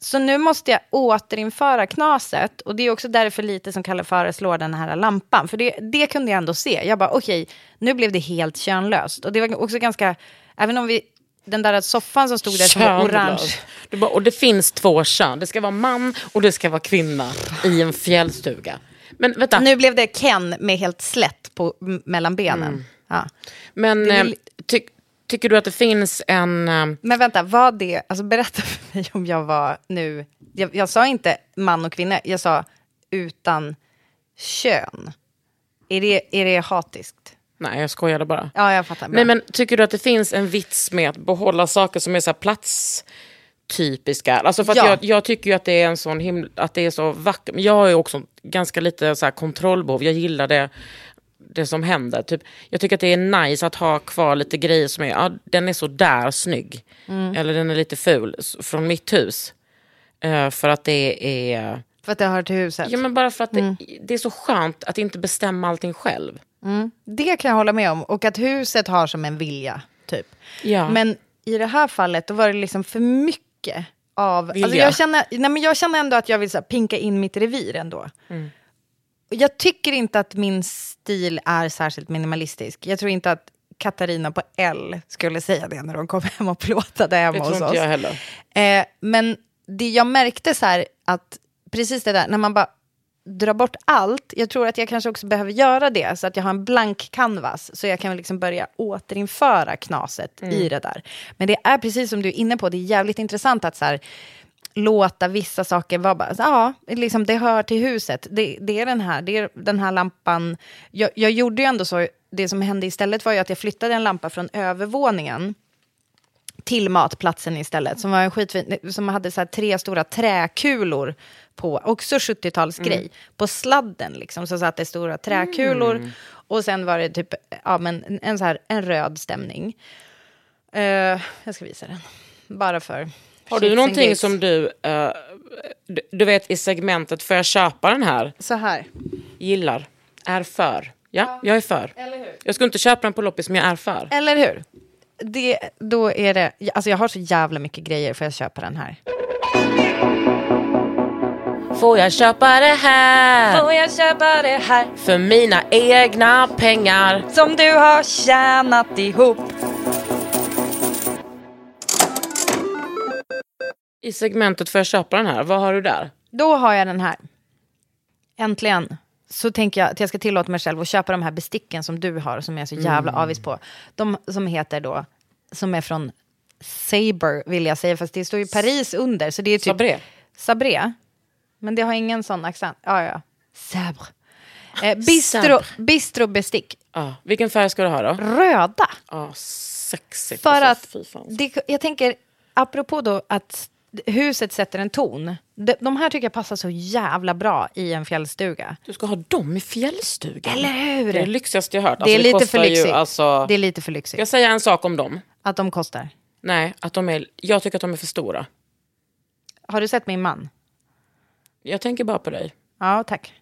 B: Så nu måste jag återinföra knaset. Och det är också därför lite som Kalle föreslår den här lampan. För det, det kunde jag ändå se. Jag bara, okej, nu blev det helt könlöst. Och det var också ganska, även om vi, den där soffan som stod där som var orange.
A: Du bara, och det finns två kön. Det ska vara man och det ska vara kvinna i en fjällstuga. Men vänta.
B: Nu blev det Ken med helt slätt på, m- mellan benen. Ja.
A: Men
B: Det är
A: eh,
B: väl-
A: ty, tycker du att det finns en... eh,
B: Men vänta, vad det, alltså berätta för mig om jag var nu, jag, jag sa inte man och kvinna, jag sa utan kön. Är det, är det hatiskt?
A: Nej, jag skojade bara.
B: Ja, jag fattar. Bra.
A: Nej, men tycker du att det finns en vits med att behålla saker som är så här platstypiska? Alltså för att
B: Ja.
A: jag, jag tycker ju att det är en sån himla, att det är så vackert. Men Jag har ju också ganska lite så här kontrollbehov. Jag gillar det, det som händer. Typ, jag tycker att det är nice att ha kvar lite grejer som är, ja, den är så där snygg.
B: Mm.
A: Eller den är lite ful s- från mitt hus. Eh, för att det är...
B: För att det hör till huset?
A: Ja, men bara för att det, det är så skönt att inte bestämma allting själv.
B: Mm. Det kan jag hålla med om. Och att huset har som en vilja, typ.
A: Ja.
B: Men i det här fallet, då var det liksom för mycket av...
A: Vilja.
B: Alltså jag, känner, nej men jag känner ändå att jag vill så här, pinka in mitt revir ändå.
A: Mm.
B: Och Jag tycker inte att min stil är särskilt minimalistisk. Jag tror inte att Katarina på L skulle säga det när de kom hem och plåtade hemma
A: Det tror
B: hos
A: inte
B: oss.
A: jag heller.
B: Eh, men det jag märkte så här att precis det där, när man bara drar bort allt, jag tror att jag kanske också behöver göra det så att jag har en blank canvas så jag kan väl liksom börja återinföra knaset
A: Mm.
B: i det där. Men det är precis som du är inne på, det är jävligt intressant att så här, låta vissa saker vara bara, så, ja, liksom det hör till huset, det, det är den här, det är den här lampan. Jag, jag gjorde ju ändå så, det som hände istället var ju att jag flyttade en lampa från övervåningen till matplatsen istället. Som var en skitfin, som hade så här tre stora träkulor på, också 70-talsgrej,
A: Mm.
B: på sladden liksom. Så satt det stora träkulor
A: Mm.
B: och sen var det typ, ja men en, en så här, en röd stämning. Eh, jag ska visa den, bara för...
A: Har
B: shits
A: du
B: and
A: någonting
B: gigs.
A: som du, eh, du, du vet i segmentet, får jag köpa den här?
B: Så här.
A: Gillar, är för. Ja, jag är för. Jag skulle inte köpa den på loppis, men jag är för.
B: Eller hur? Det, då är det, alltså jag har så jävla mycket grejer, för jag köpa den här?
A: Får jag köpa det här?
B: Får jag köpa det här?
A: För mina egna pengar.
B: Som du har tjänat ihop.
A: I segmentet, får jag köpa den här? Vad har du där?
B: Då har jag den här. Äntligen. Så tänker jag att jag ska tillåta mig själv att köpa de här besticken som du har, som jag är så jävla
A: Mm.
B: avis på. De som heter då, som är från Saber vill jag säga, fast det står ju Paris under. Så det är typ
A: Sabré.
B: Sabré. Men det har ingen sån accent. Ja, ja. Sabre.
A: Ah,
B: Eh, bistro, bistrobestick.
A: Ja, vilken färg ska du ha då?
B: Röda.
A: Ja, sexigt.
B: För
A: alltså, fy
B: att
A: fan.
B: det, jag tänker, apropå då att huset sätter en ton. De, de här tycker jag passar så jävla bra i en fjällstuga.
A: Du ska ha dem i fjällstugan.
B: Eller hur?
A: Det är det lyxigaste jag hört.
B: Det är
A: Alltså,
B: lite
A: kostar
B: för lyxigt.
A: Ju, alltså,
B: Det är lite för lyxigt.
A: Ska jag säga en sak om dem?
B: Att de kostar.
A: Nej, att de är, jag tycker att de är för stora.
B: Har du sett min man?
A: Jag tänker bara på dig.
B: Ja, tack.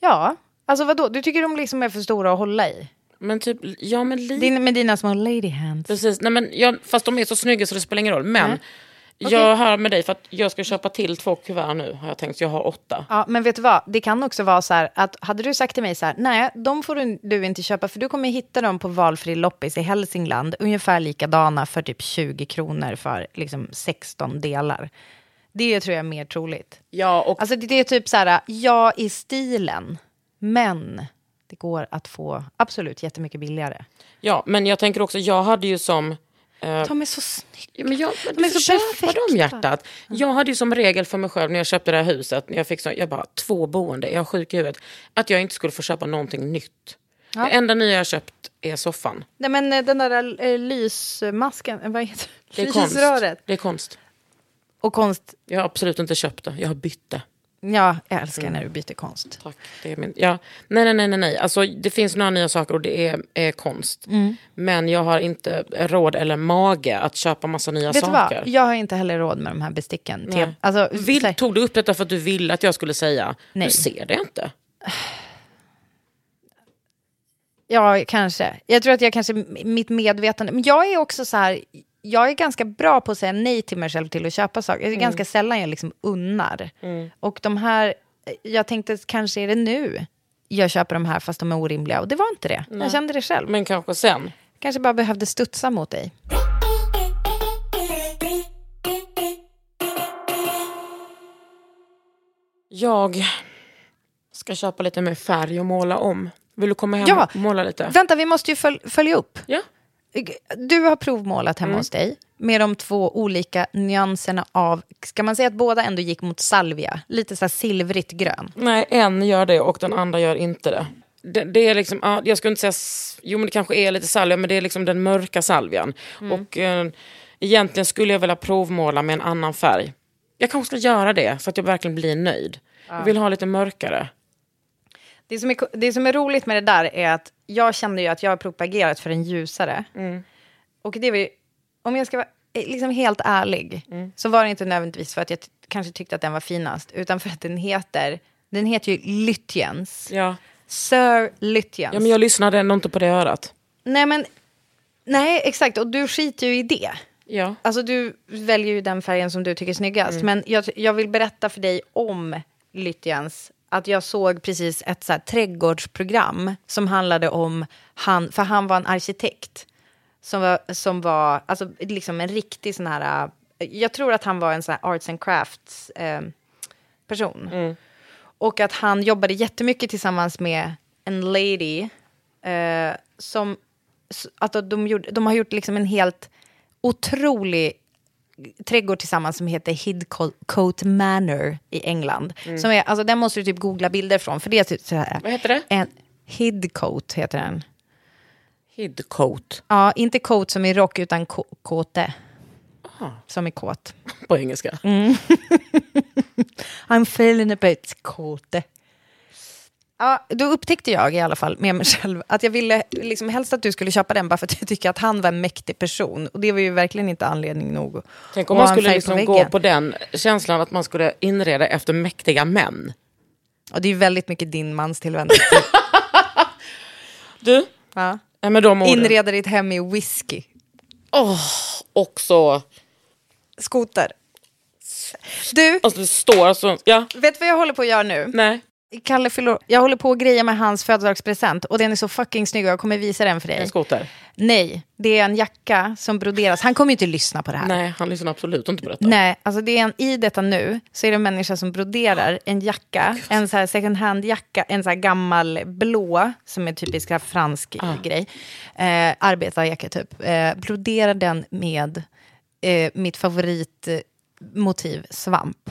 B: Ja, alltså vadå? Du tycker de liksom är för stora att hålla i?
A: Men typ, ja men lite.
B: Din, med dina små lady hands.
A: Precis, nej, men jag, fast de är så snygga så det spelar ingen roll. Men
B: Nej.
A: jag hör med dig för att jag ska köpa till två kuvert nu har jag tänkt. Så jag har åtta.
B: Ja, men vet du vad? Det kan också vara så här att hade du sagt till mig så här, nej, de får du, du inte köpa för du kommer hitta dem på valfri loppis i Hälsingland, ungefär likadana för typ 20 kronor för liksom 16 delar. Det tror jag är mer troligt.
A: Ja, och
B: Alltså det det är typ så här, ja i stilen. Men det går att få absolut jättemycket billigare.
A: Ja, men jag tänker också, jag hade ju som... eh,
B: De är så snygga.
A: Ja, men jag,
B: De
A: de
B: är
A: är
B: så perfekta.
A: dem hjärtat. Jag hade ju som regel för mig själv när jag köpte det här huset, när jag fick så, jag bara två boende, jag är sjuk i huvudet, att jag inte skulle få köpa någonting nytt.
B: Ja.
A: Det enda nya jag har köpt är soffan.
B: Nej, men eh, den där eh, lysmasken, eh, vad heter
A: Det är konst.
B: Lysröret.
A: Det är konst.
B: Och konst.
A: Jag har absolut inte köpt det, jag har bytt det.
B: Ja, jag älskar
A: Mm.
B: när du byter konst.
A: Tack. Det är min, ja. Nej, nej, nej, nej, nej. Alltså, det finns några nya saker och det är, är konst.
B: Mm.
A: Men jag har inte råd eller mage att köpa massa nya
B: Vet du
A: saker.
B: vad? Jag har inte heller råd med de här besticken.
A: Nej.
B: Till, alltså,
A: vill, tog du upp detta för att du ville att jag skulle säga?
B: Nej.
A: Du ser det inte.
B: Ja, kanske. Jag tror att jag kanske, mitt medvetande, men jag är också så här, jag är ganska bra på att säga nej till mig själv till att köpa saker. Det är
A: Mm.
B: ganska sällan jag liksom unnar. Och de här, jag tänkte kanske är det nu jag köper de här fast de är orimliga. Och det var inte det. Jag
A: Nej.
B: kände det själv.
A: Men kanske sen.
B: Kanske bara behövde studsa mot dig.
A: Jag ska köpa lite mer färg och måla om. Vill du komma hem
B: Ja.
A: och måla lite?
B: Vänta, vi måste ju följ, följa upp.
A: Ja.
B: Du har provmålat hemma
A: Mm.
B: hos dig med de två olika nyanserna av... Ska man säga att båda ändå gick mot salvia? Lite så här silvrigt grön.
A: Nej, en gör det och den andra gör inte det. Det, det är liksom, ja, jag skulle inte säga, s- jo men det kanske är lite salvia, men det är liksom den mörka salvian.
B: Mm.
A: Och eh, egentligen skulle jag vilja provmåla med en annan färg. Jag kanske ska göra det så att jag verkligen blir nöjd.
B: Ja.
A: Jag vill ha lite mörkare.
B: Det som, är, ko- det som är roligt med det där är att jag kände ju att jag har propagerat för en ljusare.
A: Mm.
B: Och det var ju, om jag ska vara eh, liksom helt ärlig,
A: Mm.
B: så var det inte nödvändigtvis för att jag t- kanske tyckte att den var finast, utan för att den heter, den heter ju Lytjens.
A: Ja.
B: Sir Lytjens.
A: Ja, men jag lyssnade ändå inte på det örat.
B: Nej, men... Nej, exakt. Och du skiter ju i det.
A: Ja.
B: Alltså, du väljer ju den färgen som du tycker är snyggast.
A: Mm.
B: Men jag, jag vill berätta för dig om Lytjens. Att jag såg precis ett så här, trädgårdsprogram som handlade om... Han, för han var en arkitekt som var, som var alltså, liksom en riktig sån här... äh, Jag tror att han var en sån här arts and crafts eh, person.
A: Mm.
B: Och att han jobbade jättemycket tillsammans med en lady eh, som... s- Att de, gjorde, de har gjort liksom en helt otrolig trädgård tillsammans som heter Hidcote Manor i England.
A: Mm.
B: Som är, alltså, den måste du typ googla bilder från, för det är typ så här...
A: Vad heter det?
B: En, Hidcote heter den.
A: Hidcote.
B: Ja, inte coat som i rock, utan ko- kåte. Som är kåt.
A: På engelska.
B: Mm. I'm feeling a bit kåte. Ja, då upptäckte jag i alla fall med mig själv att jag ville liksom helst att du skulle köpa den bara för att jag tycker att han var en mäktig person. Och det var ju verkligen inte anledning nog.
A: Tänk om
B: Och
A: man
B: en
A: skulle
B: färg på
A: liksom gå
B: väggen.
A: på den känslan att man skulle inreda efter mäktiga män.
B: Och det är ju väldigt mycket din
A: (laughs)
B: mans tillvändning.
A: Du?
B: Ja.
A: Nej, men de orden.
B: Inreda ditt hem i whisky.
A: Åh, också.
B: Skoter. Du.
A: Alltså det står så. Ja.
B: Vet du vad jag håller på att göra nu?
A: Nej.
B: Kalle fyller Jag håller på att greja med hans födelsedagspresent och den är så fucking snygg och jag kommer visa den för dig.
A: En skoter.
B: Nej, det är en jacka som broderas. Han kommer ju inte lyssna på det här.
A: Nej, han lyssnar absolut inte på detta.
B: Nej, alltså det är en, i detta nu så är det en människa som broderar en jacka, en så här second hand-jacka, en så här gammal blå, som är typisk så här fransk eh, grej, eh, arbetarjacka typ. Eh, broderar den med eh, mitt favoritmotiv, svamp.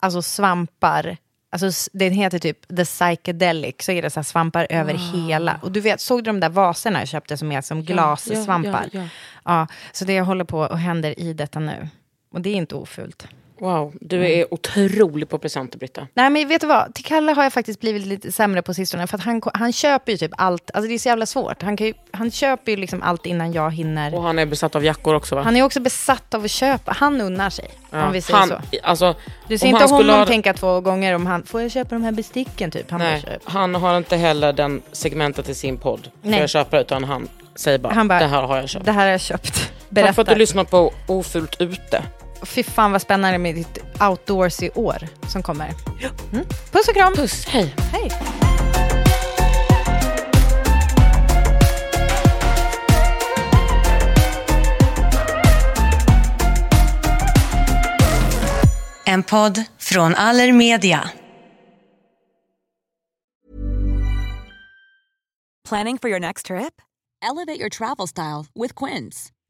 B: Alltså svampar, alltså s- den heter typ The Psychedelic, så är det så
A: Ah.
B: här svampar över hela. Och du vet, såg du de där vaserna jag köpte som är alltså som
A: Ja,
B: glassvampar?
A: ja, ja.
B: Ja, så det håller på och händer i detta nu. Och det är inte ofult.
A: Wow, du är otrolig på presenter Britta.
B: Nej, men vet du vad? Till Kalle har jag faktiskt blivit lite sämre på sistone. För att han, han köper ju typ allt. Alltså det är så jävla svårt. Han, kan ju, han köper ju liksom allt innan jag hinner.
A: Och han är besatt av jackor också va?
B: Han är också besatt av att köpa. Han unnar sig,
A: Ja.
B: om vi säger
A: han,
B: så.
A: Alltså,
B: Du ser
A: om
B: inte
A: han skulle
B: honom
A: ha-
B: tänka två gånger om han, får jag köpa de här besticken typ? Han, bara
A: Nej,
B: köper.
A: han har inte heller den segmentet i sin podd.
B: Nej.
A: Får jag köpa utan han säger bara,
B: Han bara,
A: det här har jag köpt.
B: Det här har jag köpt.
A: Tack för att du
B: Berätta.
A: lyssnar på Ofult ute.
B: Fy fan vad spännande med ditt outdoors i år som kommer. Mm. Puss och kram.
A: Puss, hej.
B: Hej.
C: En podd från Allermedia.
E: Planning for your next trip? Elevate your travel style with Quince.